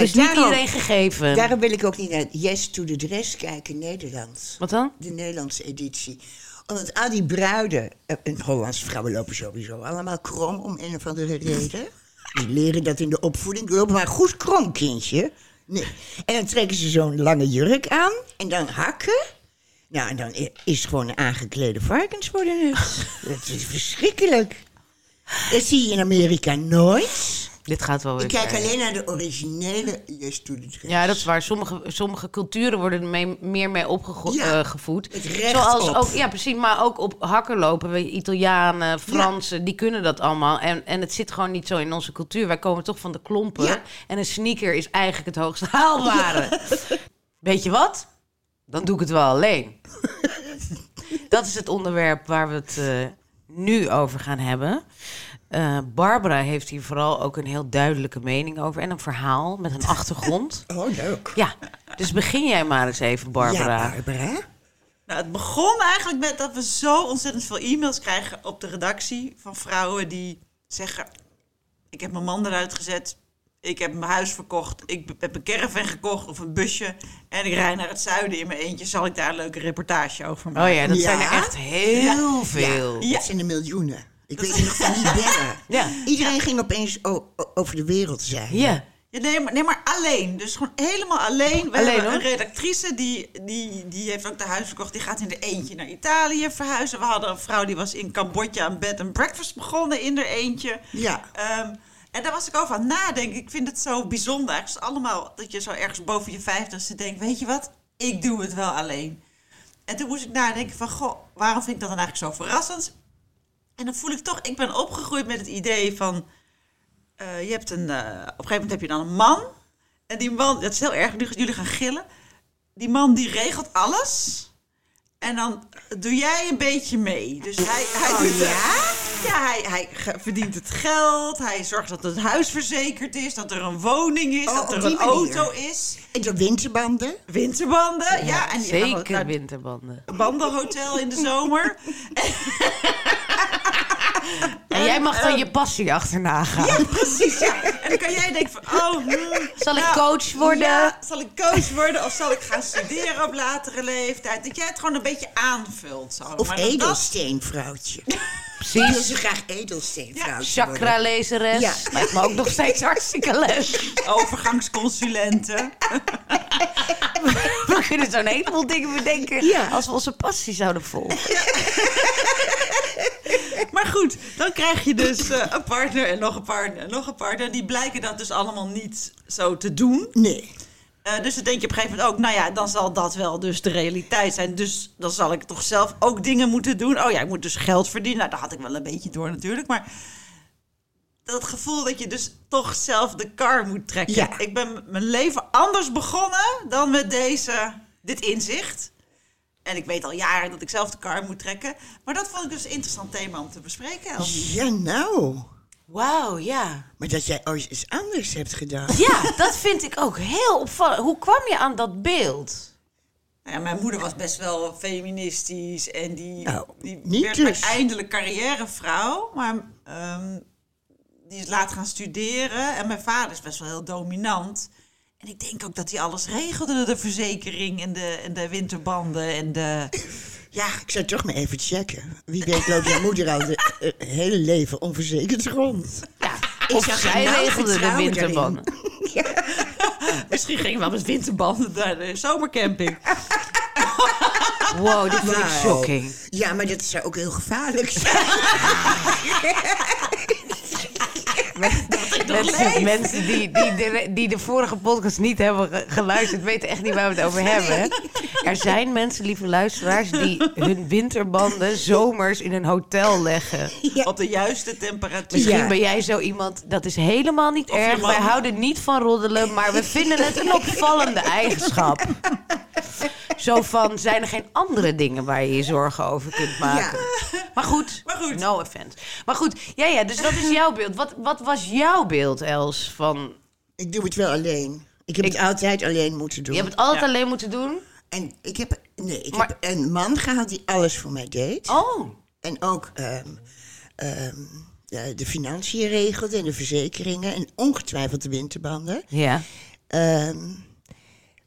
Speaker 2: Ja,
Speaker 4: is niet
Speaker 2: daarom-
Speaker 4: iedereen gegeven.
Speaker 2: Daarom wil ik ook niet naar Yes to the Dress kijken, Nederland.
Speaker 4: Wat dan?
Speaker 2: De Nederlandse editie. Omdat al die bruiden... eh, En Hollandse vrouwen lopen sowieso allemaal krom om een of andere reden. Die leren dat in de opvoeding. Loop maar goed krom, kindje. Nee. En dan trekken ze zo'n lange jurk aan. En dan hakken. Nou, en dan i- is het gewoon een aangeklede varkens worden
Speaker 4: (laughs)
Speaker 2: het. dat is verschrikkelijk. Dat zie je in Amerika nooit.
Speaker 4: Dit gaat wel weer.
Speaker 2: Ik kijk
Speaker 4: ver.
Speaker 2: alleen naar de originele Yes to the Dress.
Speaker 4: Ja, dat is waar. Sommige, sommige culturen worden mee, meer mee opgevoed.
Speaker 2: Ja, het recht
Speaker 4: Zoals
Speaker 2: op.
Speaker 4: ook, ja, precies. Maar ook op hakken lopen. Weet je, Italianen, Fransen, die kunnen dat allemaal. En, en het zit gewoon niet zo in onze cultuur. Wij komen toch van de klompen.
Speaker 2: Ja.
Speaker 4: En een sneaker is eigenlijk het hoogst (laughs) haalbare. Weet je wat? Dan doe ik het wel
Speaker 2: (laughs)
Speaker 4: alleen. dat is het onderwerp waar we het eh, nu over gaan hebben. Eh, Barbara heeft hier vooral ook een heel duidelijke mening over. En een verhaal
Speaker 2: (laughs)
Speaker 4: met een achtergrond.
Speaker 2: Oh, leuk.
Speaker 4: Ja, dus begin jij maar eens even, Barbara.
Speaker 2: Ja, Barbara.
Speaker 1: Nou, het begon eigenlijk met dat we zo ontzettend veel e-mails krijgen op de redactie van vrouwen die zeggen: Ik heb mijn man eruit gezet, ik heb mijn huis verkocht, ik b- heb een caravan gekocht of een busje en ik rij naar het zuiden in mijn eentje. Zal ik daar een leuke reportage over maken?
Speaker 4: oh ja, dat
Speaker 2: Ja.
Speaker 4: zijn er echt heel veel.
Speaker 1: Ja.
Speaker 2: Dat zijn de miljoenen. Ik weet nog van die bellen.
Speaker 4: (laughs) Ja.
Speaker 2: Iedereen ging opeens o- o- over de wereld zijn.
Speaker 4: Ja.
Speaker 1: Ja, nee, maar, nee, maar alleen. Dus gewoon helemaal alleen. We
Speaker 4: Alleen,
Speaker 1: hebben
Speaker 4: hoor.
Speaker 1: een redactrice die, die, die heeft ook de huis verkocht. Die gaat in de eentje naar Italië verhuizen. We hadden een vrouw die was in Cambodja een bed and breakfast begonnen in de eentje.
Speaker 2: Ja.
Speaker 1: Ehm, en daar was ik over aan het nadenken. Ik vind het zo bijzonder. Eigenlijk is allemaal dat je zo ergens boven je vijftigste denkt... weet je wat, ik doe het wel alleen. En toen moest ik nadenken van... goh, waarom vind ik dat dan eigenlijk zo verrassend? En dan voel ik toch... ik ben opgegroeid met het idee van... eh, je hebt een, eh, op een gegeven moment heb je dan een man. En die man, dat is heel erg, nu gaan jullie gaan gillen. Die man die regelt alles. En dan doe jij een beetje mee. Dus hij, hij
Speaker 2: Oh,
Speaker 1: doet de- ja, hij, hij ge- verdient het geld. Hij zorgt dat het huis verzekerd is. Dat er een woning is.
Speaker 2: Oh,
Speaker 1: dat
Speaker 2: op
Speaker 1: er
Speaker 2: die
Speaker 1: een
Speaker 2: manier.
Speaker 1: auto is.
Speaker 2: En de
Speaker 4: (laughs)
Speaker 2: winterbanden.
Speaker 1: Winterbanden. Ja, en die gaan nou, wel
Speaker 4: Zeker
Speaker 1: naar-
Speaker 4: winterbanden.
Speaker 1: bandenhotel in de
Speaker 2: (laughs)
Speaker 1: zomer.
Speaker 4: En jij mag dan je passie achterna gaan.
Speaker 1: Precies, ja. En dan kan jij denken van, oh... hmm,
Speaker 4: Zal ik coach worden?
Speaker 1: ja, zal ik coach worden of zal ik gaan studeren op latere leeftijd? Dat jij het gewoon een beetje aanvult. Zo.
Speaker 2: Of
Speaker 1: Maar dat-
Speaker 2: edelsteenvrouwtje. Ik wil
Speaker 4: Precies.
Speaker 2: ze graag edelsteenvrouwtje worden.
Speaker 4: Chakra-lezeres.
Speaker 2: Ja.
Speaker 4: Lijkt me ook nog steeds hartstikke leuk. (laughs)
Speaker 1: dat- overgangsconsulenten.
Speaker 4: We kunnen zo'n heleboel dingen bedenken
Speaker 2: Ja.
Speaker 4: als we onze passie zouden volgen.
Speaker 1: Maar goed, dan krijg je dus eh, een partner en nog een partner en nog een partner. Die blijken dat dus allemaal niet zo te doen.
Speaker 2: Nee.
Speaker 1: Eh, dus dan denk je op een gegeven moment ook, nou ja, dan zal dat wel dus de realiteit zijn. Dus dan zal ik toch zelf ook dingen moeten doen. Oh ja, ik moet dus geld verdienen. Nou, dat had ik wel een beetje door natuurlijk. Maar dat gevoel dat je dus toch zelf de kar moet trekken.
Speaker 2: Ja.
Speaker 1: Ik ben m- mijn leven anders begonnen dan met deze, dit inzicht. En ik weet al jaren dat ik zelf de kar moet trekken. Maar dat vond ik dus een interessant thema om te bespreken. Els.
Speaker 2: Ja, nou.
Speaker 4: Wauw, ja.
Speaker 2: Maar dat jij ooit iets anders hebt gedaan.
Speaker 4: Ja, dat vind ik ook heel opvallend. Hoe kwam je aan dat beeld?
Speaker 1: Nou ja, mijn moeder was best wel feministisch en die,
Speaker 2: Nou,
Speaker 1: die
Speaker 2: niet
Speaker 1: werd
Speaker 2: dus.
Speaker 1: uiteindelijk carrièrevrouw, maar ehm, die is laat gaan studeren. En mijn vader is best wel heel dominant. En ik denk ook dat hij alles regelde, de verzekering en de, en de winterbanden en de...
Speaker 2: (laughs) Ja, ik zou toch maar even checken. Wie weet loopt jouw moeder al de eh, hele leven onverzekerd rond.
Speaker 4: Ja,
Speaker 2: Ik
Speaker 4: of
Speaker 2: zag
Speaker 4: zij
Speaker 2: nou
Speaker 4: regelde de
Speaker 2: vertrouwen daarin.
Speaker 4: winterbanden.
Speaker 1: (laughs) Misschien ging ik wel met winterbanden naar de zomercamping.
Speaker 4: Wow, dit vind ik
Speaker 2: Wauw.
Speaker 4: shocking.
Speaker 2: Ja, maar dat zou ook heel gevaarlijk zijn.
Speaker 4: Mensen, mensen die, die, de, die de vorige podcast niet hebben ge- geluisterd, weten echt niet waar we het over hebben. hè? Er zijn mensen, lieve luisteraars, die hun winterbanden zomers in een hotel leggen.
Speaker 1: Op de juiste temperatuur.
Speaker 4: Misschien
Speaker 2: Ja.
Speaker 4: ben jij zo iemand, dat is helemaal niet
Speaker 1: je
Speaker 4: erg.
Speaker 1: man-
Speaker 4: Wij houden niet van roddelen, maar we vinden het een
Speaker 2: (laughs)
Speaker 4: opvallende eigenschap. Zo van, zijn er geen andere dingen waar je je zorgen over kunt maken? Maar, goed,
Speaker 1: Maar goed.
Speaker 4: no offense. Maar goed, ja, ja, dus dat is jouw beeld. Wat, wat was jouw beeld, Els? Van,
Speaker 2: Ik doe het wel alleen. Ik heb het altijd alleen moeten doen.
Speaker 4: je hebt het altijd
Speaker 1: Ja.
Speaker 4: alleen moeten doen?
Speaker 2: En ik heb, nee, ik
Speaker 4: Maar-
Speaker 2: heb een man gehad die alles voor mij deed.
Speaker 4: Oh,
Speaker 2: En ook ehm, ehm, eh, de financiën regelde en de verzekeringen en ongetwijfeld de winterbanden.
Speaker 4: ja.
Speaker 2: Ehm,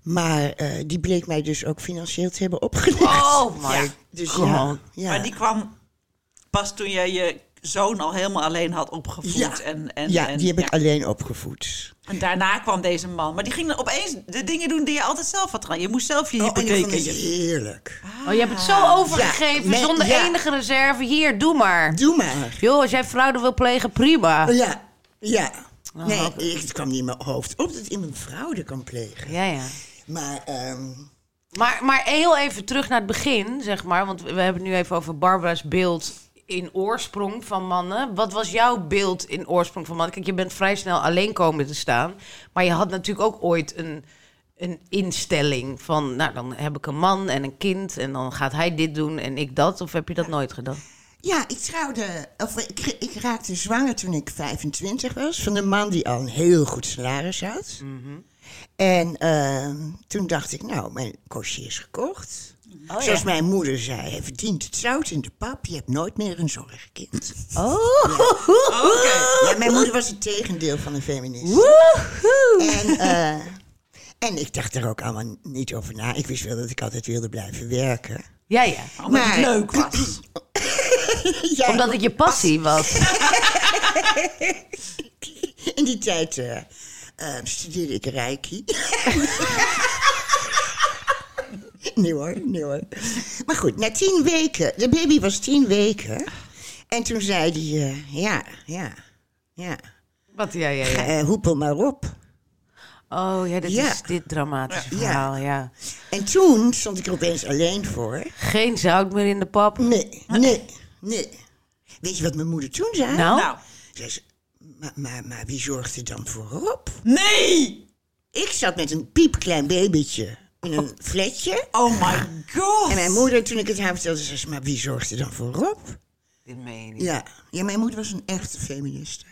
Speaker 2: maar eh, die bleek mij dus ook financieel te hebben opgelegd.
Speaker 4: Oh my
Speaker 1: Ja.
Speaker 2: (laughs) dus
Speaker 4: god.
Speaker 2: ja, ja.
Speaker 1: Maar die kwam pas toen jij je zoon al helemaal alleen had opgevoed.
Speaker 2: Ja.
Speaker 1: en, en,
Speaker 2: ja,
Speaker 1: en,
Speaker 2: die heb ik
Speaker 1: ja.
Speaker 2: alleen opgevoed.
Speaker 1: En daarna kwam deze man. Maar die ging dan opeens de dingen doen die je altijd zelf had gedaan. Je moest zelf je
Speaker 2: Oh, en ik vond
Speaker 1: hypotheek
Speaker 2: het
Speaker 1: je.
Speaker 2: heerlijk.
Speaker 4: Oh, je hebt het zo overgegeven,
Speaker 2: Ah. Ja, men-
Speaker 4: zonder
Speaker 2: ja.
Speaker 4: enige reserve. Hier, doe maar.
Speaker 2: Doe maar.
Speaker 4: Joh, als jij fraude wil plegen, prima.
Speaker 2: Ja, ja. Nee, ik, het kwam niet in mijn hoofd op dat iemand fraude kan plegen.
Speaker 4: Ja, ja.
Speaker 2: Maar ehm,
Speaker 4: Maar, maar heel even terug naar het begin, zeg maar. Want we hebben het nu even over Barbara's beeld in oorsprong van mannen. Wat was jouw beeld in oorsprong van mannen? Kijk, je bent vrij snel alleen komen te staan. Maar je had natuurlijk ook ooit een, een instelling van... nou, dan heb ik een man en een kind en dan gaat hij dit doen en ik dat. Of heb je dat nooit gedaan?
Speaker 2: ja, ik trouwde, of ik, ik raakte zwanger toen ik 25 was. Van een man die al een heel goed salaris had.
Speaker 4: Mhm.
Speaker 2: En ehm, toen dacht ik, nou, mijn kostje is gekocht.
Speaker 4: Oh,
Speaker 2: Zoals mijn moeder zei, hij verdient het zout in de pap. Je hebt nooit meer een zorgkind.
Speaker 4: Oh,
Speaker 2: Ja, mijn moeder was het tegendeel van een feminist. En, eh, en ik dacht er ook allemaal niet over na. Ik wist wel dat ik altijd wilde blijven werken.
Speaker 4: Ja, ja.
Speaker 1: Omdat het
Speaker 2: Maar-
Speaker 1: leuk was.
Speaker 2: Ja,
Speaker 4: Omdat het je passie was.
Speaker 2: in die tijd eh, eh, studeerde ik Reiki. (laughs) nee hoor, nee hoor. Maar goed, na tien weken, de baby was tien weken. En toen zei hij, eh, ja, ja, ja,
Speaker 4: Wat, ja, ja, ja.
Speaker 2: Eh, hoepel maar op.
Speaker 4: Oh, ja, dit
Speaker 2: Ja.
Speaker 4: is dit dramatische
Speaker 2: Ja.
Speaker 4: verhaal, ja.
Speaker 2: En toen stond ik er opeens alleen voor.
Speaker 4: Geen zout meer in de pap.
Speaker 2: Nee, nee, nee. Weet je wat mijn moeder toen zei?
Speaker 4: Nou?
Speaker 1: Nou,
Speaker 2: Zei ze, maar, maar, maar wie zorgt er dan voor Rob?
Speaker 1: nee!
Speaker 2: Ik zat met een piepklein babytje in een flatje.
Speaker 1: Oh my god!
Speaker 2: En mijn moeder, toen ik het haar vertelde, zei ze, maar wie zorgt er dan voor Rob?
Speaker 4: Dit meen je niet.
Speaker 2: Ja, ja mijn moeder was een echte feministe.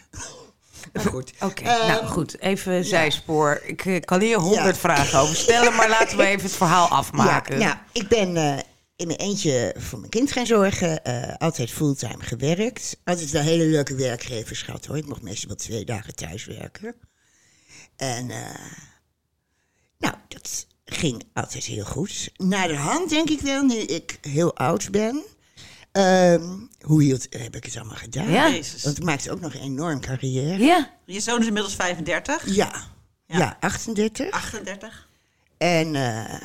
Speaker 2: Maar goed.
Speaker 4: Oké,
Speaker 2: Ehm,
Speaker 4: nou goed, even zijspoor. Ik eh, kan hier honderd vragen over stellen, maar laten we even het verhaal afmaken.
Speaker 2: Ja, nou, ik ben eh, in mijn eentje voor mijn kind gaan zorgen. eh, altijd fulltime gewerkt. Altijd wel hele leuke werkgevers gehad hoor. Ik mocht meestal wel twee dagen thuis werken. En eh, nou, dat ging altijd heel goed. Naar de hand denk ik wel, nu ik heel oud ben. Ehm, hoe hield, heb ik het allemaal gedaan?
Speaker 4: Ja.
Speaker 1: Jezus.
Speaker 2: Want ik maakte ook nog een enorm carrière.
Speaker 4: Ja.
Speaker 1: Je zoon is inmiddels 35,
Speaker 2: Ja, ja. 38.
Speaker 1: 38.
Speaker 2: En eh,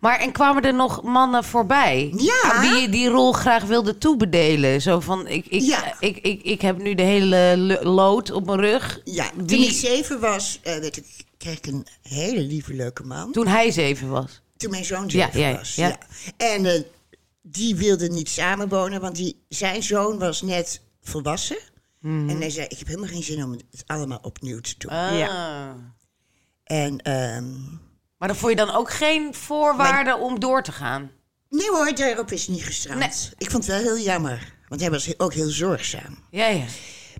Speaker 4: Maar en kwamen er nog mannen voorbij?
Speaker 2: Ja.
Speaker 4: Aan Wie je die rol graag wilde toebedelen? Zo van, ik, ik,
Speaker 2: Ja.
Speaker 4: ik, ik, ik heb nu de hele lo- lood op mijn rug.
Speaker 2: Ja, toen
Speaker 4: Die-
Speaker 2: ik zeven was, eh, werd ik, kreeg ik een hele lieve, leuke man. Toen,
Speaker 4: Toen hij zeven was.
Speaker 2: mijn zoon zeven
Speaker 4: ja,
Speaker 2: was.
Speaker 4: ja.
Speaker 2: Ja. En eh, die wilde niet samenwonen, want die, zijn zoon was net volwassen.
Speaker 4: Hmm.
Speaker 2: En hij zei, ik heb helemaal geen zin om het allemaal opnieuw te doen.
Speaker 4: Ah.
Speaker 2: En ehm,
Speaker 4: Maar dan vond je dan ook geen voorwaarden om door te gaan?
Speaker 2: nee hoor, daarop is niet gestrand.
Speaker 4: Nee.
Speaker 2: Ik vond het wel heel jammer, want hij was he- ook heel zorgzaam.
Speaker 4: Ja, ja.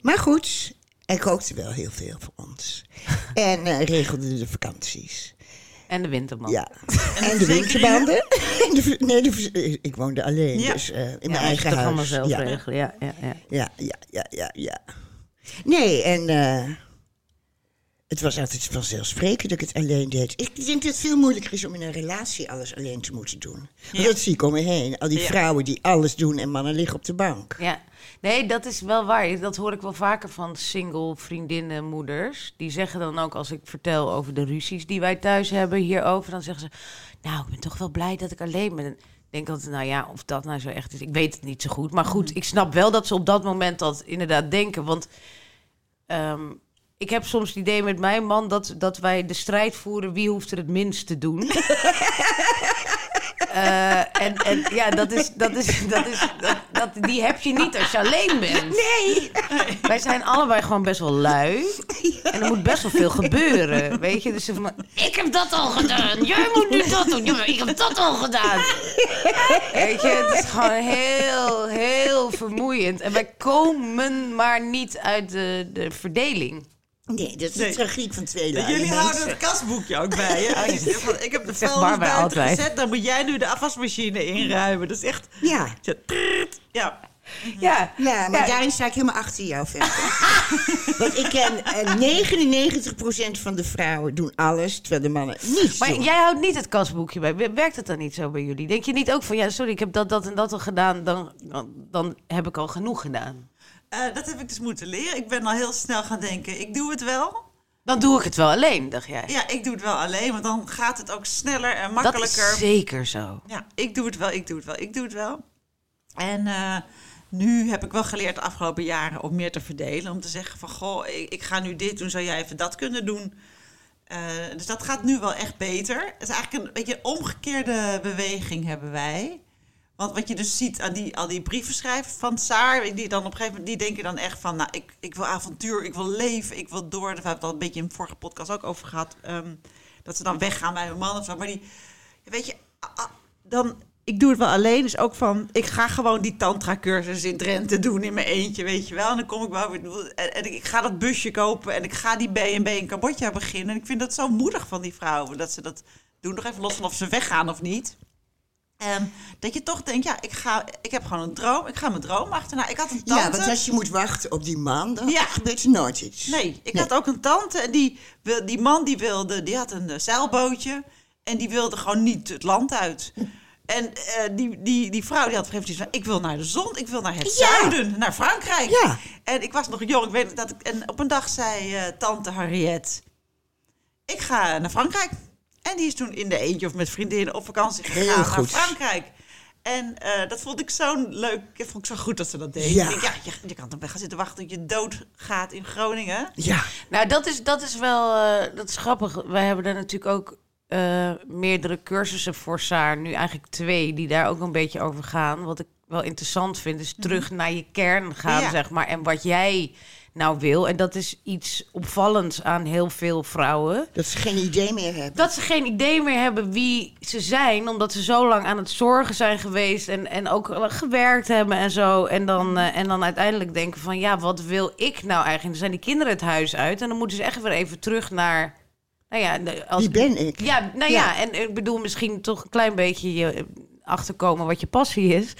Speaker 2: Maar goed, hij kookte wel heel veel voor
Speaker 4: (laughs)
Speaker 2: ons. en eh, regelde de vakanties.
Speaker 4: En de winterman.
Speaker 2: Ja. En de winterbanden. En (laughs) de ver- nee, de ver- eh, ik woonde alleen,
Speaker 1: Ja.
Speaker 2: dus eh, in
Speaker 4: Ja,
Speaker 2: mijn
Speaker 4: moet je
Speaker 2: eigen
Speaker 4: toch
Speaker 2: huis.
Speaker 4: allemaal zelf
Speaker 2: ja. ja,
Speaker 4: regelen. Ja, ja, ja.
Speaker 2: ja, ja, ja, ja. Nee, en eh, Het was altijd vanzelfsprekend dat ik het alleen deed. Ik denk dat het veel moeilijker is om in een relatie alles alleen te moeten doen. Want dat zie ik om me heen. Al die
Speaker 1: Ja.
Speaker 2: vrouwen die alles doen en mannen liggen op de bank.
Speaker 4: Ja. Nee, dat is wel waar. Dat hoor ik wel vaker van single vriendinnen, moeders. Die zeggen dan ook als ik vertel over de ruzies die wij thuis hebben hierover, dan zeggen ze: "Nou, ik ben toch wel blij dat ik alleen ben." Ik denk altijd, nou ja, of dat nou zo echt is, ik weet het niet zo goed. Maar goed, ik snap wel dat ze op dat moment dat inderdaad denken, want ehm, ik heb soms het idee met mijn man dat, dat wij de strijd voeren wie hoeft er het minst te doen. Eh, en, en ja, dat is, dat is, dat is, dat, dat- die heb je niet als je alleen bent.
Speaker 2: Nee!
Speaker 4: Wij zijn allebei gewoon best wel lui. En er moet best wel veel gebeuren. Weet je, dus van, ik heb dat al gedaan. Jij moet nu dat doen. Ja, maar ik heb dat al gedaan. Weet je, het is gewoon heel, heel vermoeiend. En wij komen maar niet uit de, de verdeling.
Speaker 2: Nee, dat is
Speaker 1: Nee.
Speaker 2: de tragiek van
Speaker 1: Ja,
Speaker 2: twee luie
Speaker 1: Jullie
Speaker 2: mensen.
Speaker 1: houden het kastboekje ook bij. Hè? Dus ik heb- ik heb de
Speaker 4: zegt
Speaker 1: vuilnis
Speaker 4: Barbara
Speaker 1: buiten
Speaker 4: altijd.
Speaker 1: gezet, dan moet jij nu de afwasmachine inruimen. Dat is echt...
Speaker 2: Ja.
Speaker 1: Ja, trrrt. ja.
Speaker 4: Ja,
Speaker 2: Ja, maar
Speaker 4: Ja.
Speaker 2: daarin sta ik helemaal achter jou, Femke. (laughs) Want ik ken eh, 99% van de vrouwen doen alles, terwijl de mannen niets
Speaker 4: Maar
Speaker 2: doen.
Speaker 4: jij houdt niet het kasboekje bij. Werkt het dan niet zo bij jullie? Denk je niet ook van, ja, sorry, ik heb dat, dat en dat al gedaan. Dan, dan, dan heb ik al genoeg gedaan.
Speaker 1: Eh, dat heb ik dus moeten leren. Ik ben al heel snel gaan denken, ik doe het wel.
Speaker 4: Dan doe ik het wel alleen, dacht jij.
Speaker 1: Ja, ik doe het wel alleen, want dan gaat het ook sneller en
Speaker 4: dat is
Speaker 1: makkelijker.
Speaker 4: zeker zo.
Speaker 1: Ja, ik doe het wel, ik doe het wel, ik doe het wel. En eh, nu heb ik wel geleerd de afgelopen jaren om meer te verdelen. Om te zeggen van, goh, ik, ik ga nu dit doen, zou jij even dat kunnen doen? Eh, dus dat gaat nu wel echt beter. Het is eigenlijk een beetje een omgekeerde beweging hebben wij. Want wat je dus ziet aan die, al die brievenschrijvers van Saar, die dan op een gegeven moment, die denken dan echt van, nou, ik, ik wil avontuur, ik wil leven, ik wil door. Daar hebben we het al een beetje in de vorige podcast ook over gehad. ehm, dat ze dan weggaan bij hun man of zo. Maar die, weet je, a- a- dan, ik doe het wel alleen. Dus ook van, ik ga gewoon die tantra-cursus in Drenthe doen in mijn eentje, weet je wel. En dan kom ik wel weer, en, en ik ga dat busje kopen en ik ga die B&B in Cambodja beginnen. En ik vind dat zo moedig van die vrouwen, dat ze dat doen. Nog even los van of ze weggaan of niet. Ehm, dat je toch denkt, ja, ik, ga, ik heb gewoon een droom. Ik ga mijn droom achterna. Ik had een tante.
Speaker 2: Ja, want als je moet wachten op die man, dan
Speaker 1: Ja.
Speaker 2: gebeurt er nooit iets.
Speaker 1: Nee, ik had ook een tante en die, wil- die man die wilde, die had een eh, zeilbootje en die wilde gewoon niet het land
Speaker 2: (laughs)
Speaker 1: uit. En eh, die, die, die vrouw die had op een gegeven moment zoiets van, ik wil naar de zon, ik wil naar het
Speaker 2: Ja.
Speaker 1: zuiden, naar Frankrijk.
Speaker 2: Ja.
Speaker 1: En ik was nog jong, ik weet dat ik, en op een dag zei eh, tante Harriet, ik ga naar Frankrijk. En die is toen in de eentje of met vriendinnen op vakantie gegaan
Speaker 2: Heel
Speaker 1: naar
Speaker 2: goed.
Speaker 1: Frankrijk. En eh, dat vond ik zo'n leuk, ik vond ik zo goed dat ze dat deed.
Speaker 2: Ja.
Speaker 1: Ik denk, ja, je, je kan toch wel gaan zitten wachten tot je doodgaat in Groningen.
Speaker 2: Ja.
Speaker 4: Nou, dat is, dat is wel eh, dat is grappig. Wij hebben daar natuurlijk ook eh, meerdere cursussen voor Saar. Nu eigenlijk twee die daar ook een beetje over gaan. Wat ik wel interessant vind, is terug naar je kern gaan,
Speaker 1: Mhm. Ja.
Speaker 4: zeg maar. En wat jij nou wil. En dat is iets opvallends aan heel veel vrouwen.
Speaker 2: Dat ze geen idee meer hebben.
Speaker 4: Dat ze geen idee meer hebben wie ze zijn, omdat ze zo lang aan het zorgen zijn geweest en, en ook wel gewerkt hebben en zo. En dan, eh, en dan uiteindelijk denken van ja, wat wil ik nou eigenlijk? Dan zijn die kinderen het huis uit en dan moeten ze echt weer even terug naar. Nou ja, de- als,
Speaker 2: Wie ben ik?
Speaker 4: ja, nou ja. en ik bedoel misschien toch een klein beetje je eh, achterkomen wat je passie
Speaker 2: (laughs)
Speaker 4: is.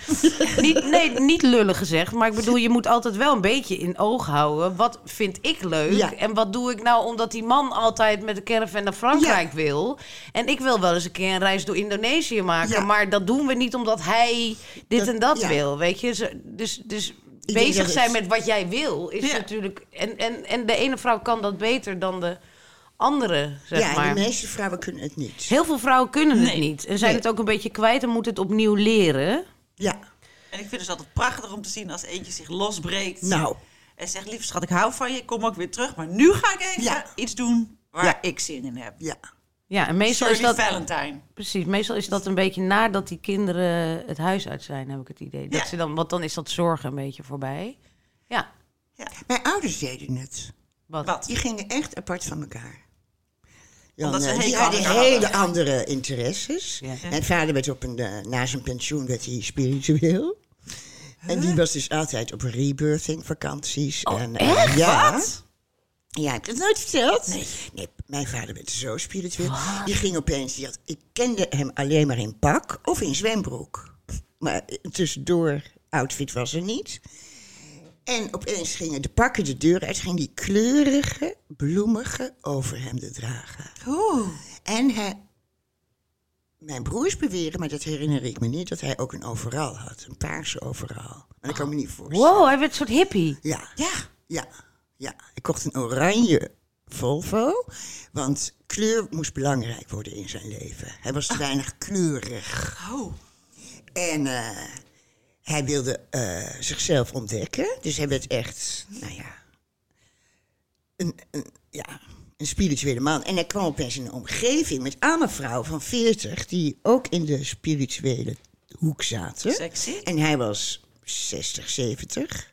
Speaker 4: niet, nee, niet lullig gezegd, maar ik bedoel, je moet altijd wel een beetje in oog houden. Wat vind ik leuk
Speaker 2: Ja.
Speaker 4: en wat doe ik nou omdat die man altijd met de caravan naar Frankrijk
Speaker 2: Ja.
Speaker 4: wil. En ik wil wel eens een keer een reis door Indonesië maken,
Speaker 2: Ja.
Speaker 4: maar dat doen we niet omdat hij dit
Speaker 2: Dat-
Speaker 4: en dat
Speaker 2: ja.
Speaker 4: wil, weet je. Ze- Dus, dus
Speaker 2: denk dat
Speaker 4: bezig
Speaker 2: het-
Speaker 4: zijn met wat jij wil is
Speaker 1: Ja.
Speaker 4: natuurlijk... En, en, en de ene vrouw kan dat beter dan de andere, zeg
Speaker 2: ja,
Speaker 4: maar.
Speaker 2: en de meeste vrouwen kunnen het niet.
Speaker 4: Heel veel vrouwen kunnen het niet. En zijn
Speaker 2: Nee.
Speaker 4: het ook een beetje kwijt en moeten het opnieuw leren.
Speaker 2: Ja.
Speaker 1: En ik vind het dus altijd prachtig om te zien als eentje zich losbreekt.
Speaker 2: Nou.
Speaker 1: En zegt, lieve schat, ik hou van je, ik kom ook weer terug. Maar nu ga ik even
Speaker 2: Ja.
Speaker 1: iets doen waar
Speaker 2: Ja.
Speaker 1: ik zin in heb.
Speaker 2: Ja.
Speaker 4: Ja, en meestal
Speaker 1: Shirley
Speaker 4: is dat...
Speaker 1: Valentine.
Speaker 4: Precies, meestal is dat een beetje nadat die kinderen het huis uit zijn, heb ik het idee. Dat
Speaker 1: Ja.
Speaker 4: ze dan, want dan is dat zorgen een beetje voorbij. Ja,
Speaker 2: Mijn ouders deden het.
Speaker 4: wat?
Speaker 1: Wat?
Speaker 2: Die gingen echt apart van elkaar.
Speaker 1: Omdat ze
Speaker 2: eh,
Speaker 1: een
Speaker 2: die
Speaker 1: hekel
Speaker 2: hadden
Speaker 1: aan elkaar
Speaker 2: hele andere interesses.
Speaker 4: Ja.
Speaker 2: Mijn vader werd op een, eh, na zijn pensioen werd hij spiritueel. En die was dus altijd op rebirthing vakanties. en, eh, ja. Ja, heb je dat nooit verteld? Nee. mijn vader werd zo spiritueel. Die ging opeens, die had, ik kende hem alleen maar in pak of in zwembroek. Maar tussendoor, outfit was er niet. En opeens gingen de pakken de deur uit, ging die kleurige, bloemige overhemden dragen.
Speaker 1: Oeh.
Speaker 2: En hij, mijn broers beweren, maar dat herinner ik me niet, dat hij ook een overal had. Een paarse overal. Maar dat kan me niet voorstellen.
Speaker 4: Wow, hij werd een soort hippie.
Speaker 2: Ja,
Speaker 1: Ja.
Speaker 2: ja, ja. Ik kocht een oranje Volvo, want kleur moest belangrijk worden in zijn leven. Hij was te weinig kleurig.
Speaker 1: Ah. Oh.
Speaker 2: En eh, hij wilde eh, zichzelf ontdekken. Dus hij werd echt, nou ja, een, een, ja, een spirituele man. En hij kwam opeens in een omgeving met allemaal vrouwen van 40 die ook in de spirituele hoek zaten.
Speaker 1: Sexy.
Speaker 2: En hij was 60, 70.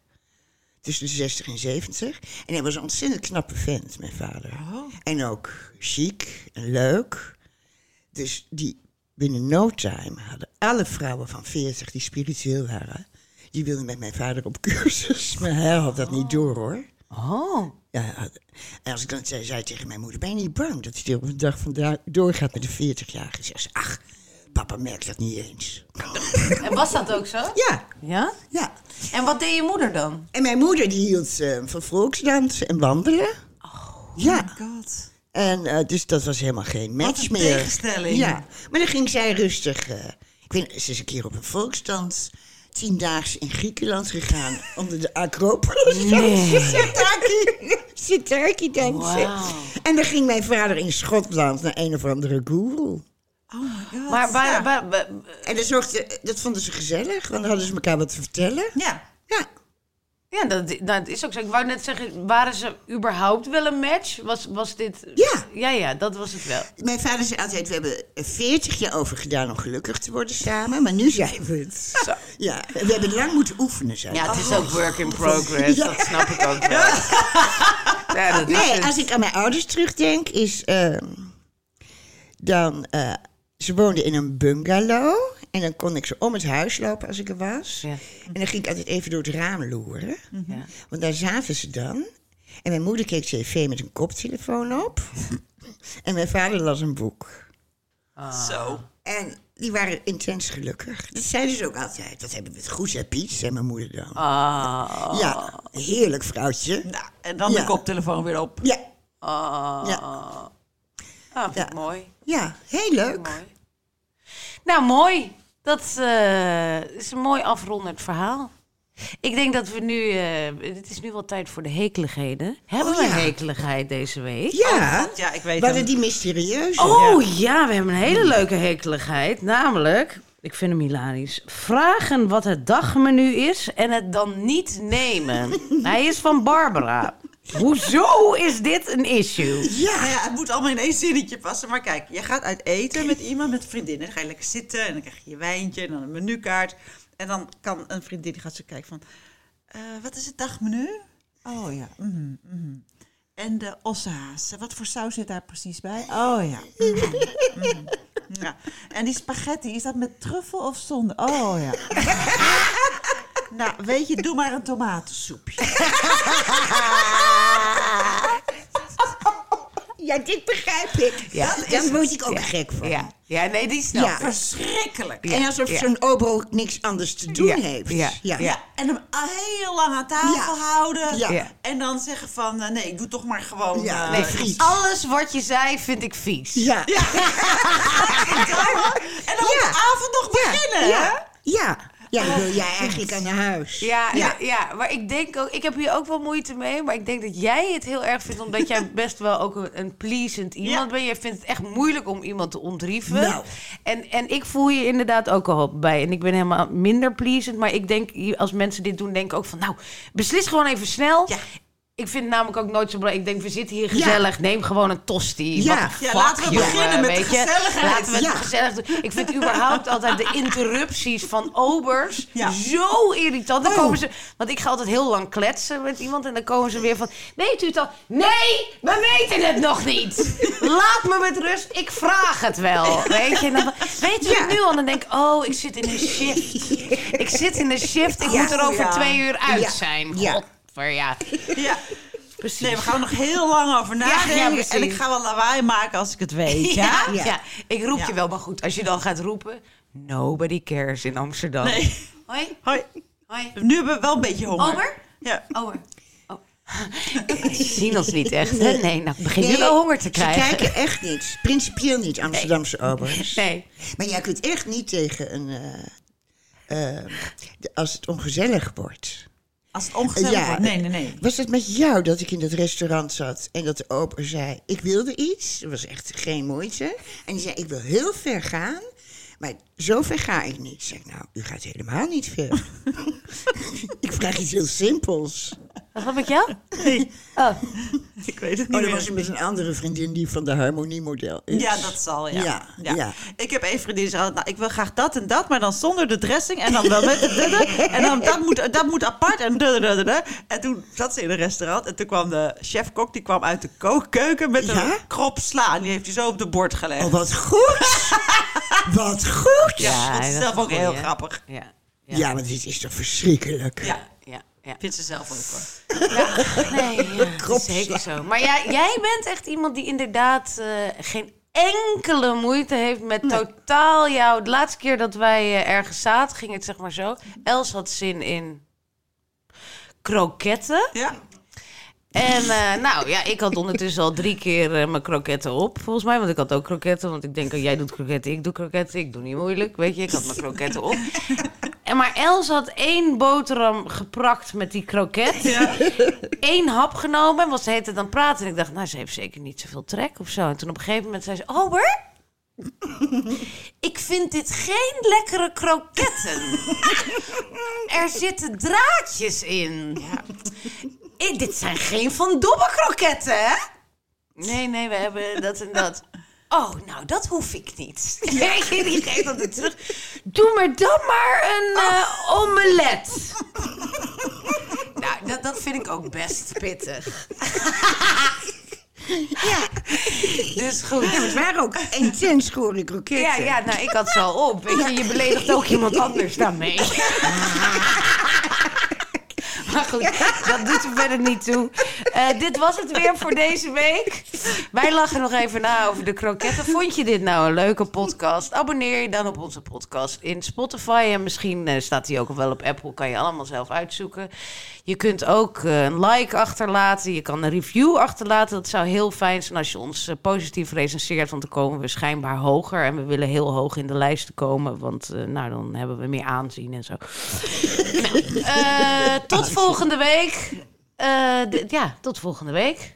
Speaker 2: Tussen de 60 en 70. En hij was een ontzettend knappe vent, mijn vader. En ook chic en leuk. Dus die binnen no time hadden alle vrouwen van 40 die spiritueel waren, die wilden met mijn vader op cursus. Maar hij had dat niet door hoor.
Speaker 4: Oh.
Speaker 2: Ja, hij had- en als ik dan zei, zei tegen mijn moeder, ben je niet bang dat hij er op een dag vandaag doorgaat met een 40-jarige? Zegt ze, ach, papa merkt dat niet eens.
Speaker 3: En was dat ook zo?
Speaker 2: Ja,
Speaker 4: Ja?
Speaker 2: ja.
Speaker 3: En wat deed je moeder dan?
Speaker 2: En mijn moeder die hield eh, van volksdansen en wandelen. ja.
Speaker 1: Oh God.
Speaker 2: En eh, dus dat was helemaal geen match
Speaker 1: Wat een
Speaker 2: meer.
Speaker 1: tegenstelling.
Speaker 2: Ja, maar dan ging zij rustig. eh, ik weet, ze is een keer op een volksdans tiendaags in Griekenland
Speaker 1: (laughs)
Speaker 2: gegaan onder de Acropolis. (laughs) Nee. (laughs) Sitaki, Sitaki dansen. En dan ging mijn vader in Schotland naar een of andere guru.
Speaker 1: Oh my god.
Speaker 4: Maar waar,
Speaker 1: ja.
Speaker 4: waar- waar-
Speaker 2: En dat, zorgde, dat vonden ze gezellig, want dan hadden ze elkaar wat te vertellen.
Speaker 1: Ja.
Speaker 2: Ja.
Speaker 4: ja, dat, dat is ook zo. Ik wou net zeggen, waren ze überhaupt wel een match? Was, was dit...
Speaker 2: Ja.
Speaker 4: Ja, ja, dat was het wel.
Speaker 2: Mijn vader zei altijd, we hebben er 40 jaar over gedaan om gelukkig te worden samen, maar nu zijn we het. Ja, we hebben lang moeten oefenen, zei hij.
Speaker 3: Ja, het is
Speaker 1: Oh.
Speaker 3: ook work in
Speaker 2: (laughs)
Speaker 3: progress, dat snap ik ook wel. Ja, dat is
Speaker 2: Nee,
Speaker 3: het.
Speaker 2: als ik aan mijn ouders terugdenk, is ehm, dan. eh, ze woonden in een bungalow. En dan kon ik ze om het huis lopen als ik er was.
Speaker 4: Ja.
Speaker 2: En dan ging ik altijd even door het raam loeren.
Speaker 3: Mhm.
Speaker 4: Ja.
Speaker 2: Want daar zaten ze dan. En mijn moeder keek tv met een koptelefoon
Speaker 3: (laughs)
Speaker 2: op. en mijn vader las een boek.
Speaker 1: (laughs) Zo.
Speaker 2: En die waren intens gelukkig. Dat zeiden ze ook altijd. Dat hebben we het goed, hè Piet, zei mijn moeder dan.
Speaker 4: Ah.
Speaker 2: Ja, heerlijk vrouwtje.
Speaker 1: Nou, en dan
Speaker 2: Ja.
Speaker 1: de koptelefoon weer op.
Speaker 2: Ja,
Speaker 4: Ah.
Speaker 2: ja,
Speaker 4: Ah, vind ik
Speaker 2: Ja.
Speaker 4: mooi.
Speaker 2: ja, heel leuk.
Speaker 4: mooi. Nou, mooi. Dat eh, is een mooi afrondend verhaal. Ik denk dat we nu... eh, het is nu wel tijd voor de hekeligheden. Hebben
Speaker 2: Oh,
Speaker 4: we
Speaker 2: ja.
Speaker 4: hekeligheid deze week?
Speaker 2: Ja.
Speaker 1: Ja, ik weet
Speaker 2: Waren
Speaker 1: het.
Speaker 2: die mysterieuze?
Speaker 4: Oh ja. we hebben een hele leuke hekeligheid. Namelijk, ik vind hem hilarisch. Vragen wat het dagmenu is en het dan niet
Speaker 2: (laughs)
Speaker 4: nemen. Hij is van Barbara. Hoezo is dit een issue?
Speaker 1: Ja. Nou ja, het moet allemaal in één zinnetje passen. Maar kijk, je gaat uit eten met iemand, met vriendinnen. Dan ga je lekker zitten en dan krijg je je wijntje en dan een menukaart. En dan kan een vriendin, die gaat zo kijken van... eh, wat is het dagmenu? Oh ja, mhm, mhm. En de ossehaas. Wat voor saus zit daar precies bij? Oh ja. mhm, mhm. ja. En die spaghetti, is dat met truffel of zonder? Oh ja. (laughs) nou, weet je, doe maar een tomatensoepje.
Speaker 2: Ja, dit begrijp ik.
Speaker 4: Ja,
Speaker 2: Ja, Daar word ik ook gek van.
Speaker 4: Ja, ja nee, die snap
Speaker 2: Ja.
Speaker 4: ik.
Speaker 1: Verschrikkelijk.
Speaker 2: En alsof
Speaker 4: ja.
Speaker 2: zo'n obo ook niks anders te doen
Speaker 4: Ja,
Speaker 2: heeft.
Speaker 4: ja, ja.
Speaker 1: En hem al heel lang aan tafel
Speaker 2: Ja.
Speaker 1: houden.
Speaker 2: Ja.
Speaker 4: Ja.
Speaker 1: En dan zeggen van, eh, nee, ik doe toch maar gewoon...
Speaker 2: Ja,
Speaker 1: eh, (laughs)
Speaker 2: nee,
Speaker 1: iets.
Speaker 2: friet.
Speaker 4: Alles wat je zei vind ik vies.
Speaker 2: Ja. Ja.
Speaker 1: En dan op de avond nog beginnen. hè?
Speaker 2: Ja. Ja. Ja, dan wil jij eigenlijk aan huis.
Speaker 4: Ja, ja.
Speaker 1: Ja.
Speaker 4: ja, maar ik denk ook, ik heb hier ook wel moeite mee, maar ik denk dat jij het heel erg vindt,
Speaker 1: (laughs)
Speaker 4: omdat jij best wel ook een, een pleasant iemand
Speaker 1: Ja.
Speaker 4: bent. Jij vindt het echt moeilijk om iemand te ontrieven.
Speaker 2: Nou.
Speaker 4: En, en ik voel je inderdaad ook al bij. En ik ben helemaal minder pleasant, maar ik denk, hier- als mensen dit doen, denk ik ook van, nou, beslis gewoon even snel.
Speaker 1: Ja.
Speaker 4: Ik vind het namelijk ook nooit zo belangrijk. Ik denk, we zitten hier gezellig. Neem gewoon een tosti.
Speaker 2: Ja.
Speaker 4: What the
Speaker 1: Ja,
Speaker 4: fuck,
Speaker 1: laten we
Speaker 4: jongen,
Speaker 1: beginnen met de
Speaker 4: weet je?
Speaker 1: gezelligheid.
Speaker 4: Laten we het
Speaker 2: Ja.
Speaker 4: gezellig doen. Ik vind überhaupt altijd de interrupties van obers
Speaker 1: Ja.
Speaker 4: zo irritant. Dan komen ze, want ik ga altijd heel lang kletsen met iemand. En dan komen ze weer van, weet u het al? Nee, we weten het nog niet. Laat me met rust, ik vraag het wel. Weet je, En dan, weet u het nu al? En dan denk ik, oh, ik zit in een shift. Ik zit in een shift, ik
Speaker 2: Ja.
Speaker 4: moet er over
Speaker 1: Ja.
Speaker 4: twee uur uit
Speaker 2: Ja.
Speaker 4: zijn.
Speaker 2: Ja.
Speaker 4: Godver, ja.
Speaker 1: Ja.
Speaker 4: Precies.
Speaker 1: Nee, we gaan er nog heel lang over
Speaker 4: ja,
Speaker 1: nadenken.
Speaker 4: precies.
Speaker 1: en ik ga wel lawaai maken als ik het weet. Ja?
Speaker 4: (laughs) Ja, ja.
Speaker 2: Ja.
Speaker 4: ik roep
Speaker 1: Ja.
Speaker 4: je wel, maar goed, als je dan gaat roepen, nobody cares in Amsterdam.
Speaker 1: Nee.
Speaker 4: Hoi,
Speaker 1: Hoi.
Speaker 4: hoi.
Speaker 1: Nu hebben we wel een beetje honger.
Speaker 4: Ober?
Speaker 1: Ja.
Speaker 4: Oh,
Speaker 5: Ze zien ons niet echt. hè? Nee, nou, ik begin nu
Speaker 2: Nee,
Speaker 5: wel honger te
Speaker 2: Ze
Speaker 5: krijgen.
Speaker 2: kijken echt niet. Principieel niet, Amsterdamse obers.
Speaker 5: Nee.
Speaker 2: Maar jij kunt echt niet tegen een... eh, eh, de- als het ongezellig wordt.
Speaker 1: Als het ongezellig
Speaker 2: Ja.
Speaker 1: wordt. Nee, nee, nee.
Speaker 2: Was het met jou dat ik in dat restaurant zat en dat de ober zei: Ik wilde iets. Dat was echt geen moeite. En die zei: Ik wil heel ver gaan, maar zo ver ga ik niet. Ik zeg: Nou, u gaat helemaal niet ver. (laughs) ik vraag iets heel simpels.
Speaker 4: was dat met jou?
Speaker 1: Ik weet het niet
Speaker 2: Oh, dat
Speaker 1: meer.
Speaker 2: was met een andere vriendin die van de harmoniemodel is.
Speaker 1: Ja, dat zal, ja.
Speaker 2: Ja, ja.
Speaker 1: Ik heb één vriendin die zei, altijd, nou, ik wil graag dat en dat, maar dan zonder de dressing en dan wel met de dudde. En dan dat moet, dat moet apart en dudde, dudde, dudde. En toen zat ze in een restaurant en toen kwam de chef-kok, die kwam uit de ko- keuken met een
Speaker 2: Ja?
Speaker 1: krop sla. En die heeft hij zo op de bord gelegd.
Speaker 2: Oh, wat
Speaker 1: (laughs)
Speaker 2: goed! wat goed!
Speaker 1: ja,
Speaker 5: Ja,
Speaker 1: dat is
Speaker 5: dat
Speaker 1: zelf
Speaker 5: is
Speaker 1: ook
Speaker 5: een
Speaker 1: heel
Speaker 5: goeie.
Speaker 1: grappig.
Speaker 5: Ja. Ja.
Speaker 2: Ja, maar dit is toch verschrikkelijk?
Speaker 1: Ja,
Speaker 4: Ja, ja.
Speaker 1: vindt ze zelf ook hoor.
Speaker 4: Nee, ja, dat is zeker zo. Maar jij, jij bent echt iemand die inderdaad eh, geen enkele moeite heeft met totaal jou. De laatste keer dat wij eh, ergens zaten, ging het zeg maar zo. Els had zin in kroketten.
Speaker 1: Ja.
Speaker 4: En eh, nou ja, ik had ondertussen al drie keer eh, mijn kroketten op, volgens mij. Want ik had ook kroketten. Want ik denk, oh, jij doet kroketten, ik doe kroketten. Ik doe niet moeilijk, weet je. Ik had mijn kroketten op. En maar Els had één boterham geprakt met die kroket. Eén hap genomen en was de hele tijd aan het praten. En ik dacht, nou, ze heeft zeker niet zoveel trek of zo. En toen op een gegeven moment zei ze, Ober, ik vind dit geen lekkere kroketten. Er zitten draadjes in. Ik- Eh, dit zijn geen van Dobbe kroketten, hè? Nee, nee, we hebben dat en dat. (laughs) Oh, nou, dat hoef ik (laughs) niet. Ik die geeft dat weer terug. Doe maar dan maar een eh, (laughs) omelet. nou, dat, dat vind ik ook best (laughs) pittig. ja. Dus goed.
Speaker 2: Het waren ook
Speaker 4: (laughs)
Speaker 2: intens gore kroketten.
Speaker 4: Ja, ja, nou, ik had ze al op. Weet je, je beledigt ook iemand anders daarmee. (laughs) Maar goed, dat doet er verder niet toe. Eh, dit was het weer voor deze week. Wij lachen nog even na over de kroketten. Vond je dit nou een leuke podcast? Abonneer je dan op onze podcast in Spotify. En misschien eh, staat die ook wel op Apple. Kan je allemaal zelf uitzoeken. Je kunt ook eh, een like achterlaten. Je kan een review achterlaten. Dat zou heel fijn zijn als je ons eh, positief recenseert. Want dan komen we schijnbaar hoger. En we willen heel hoog in de lijsten komen. Want eh, nou, dan hebben we meer aanzien en zo. Eh, tot volgende week. Eh, d- ja, tot volgende week.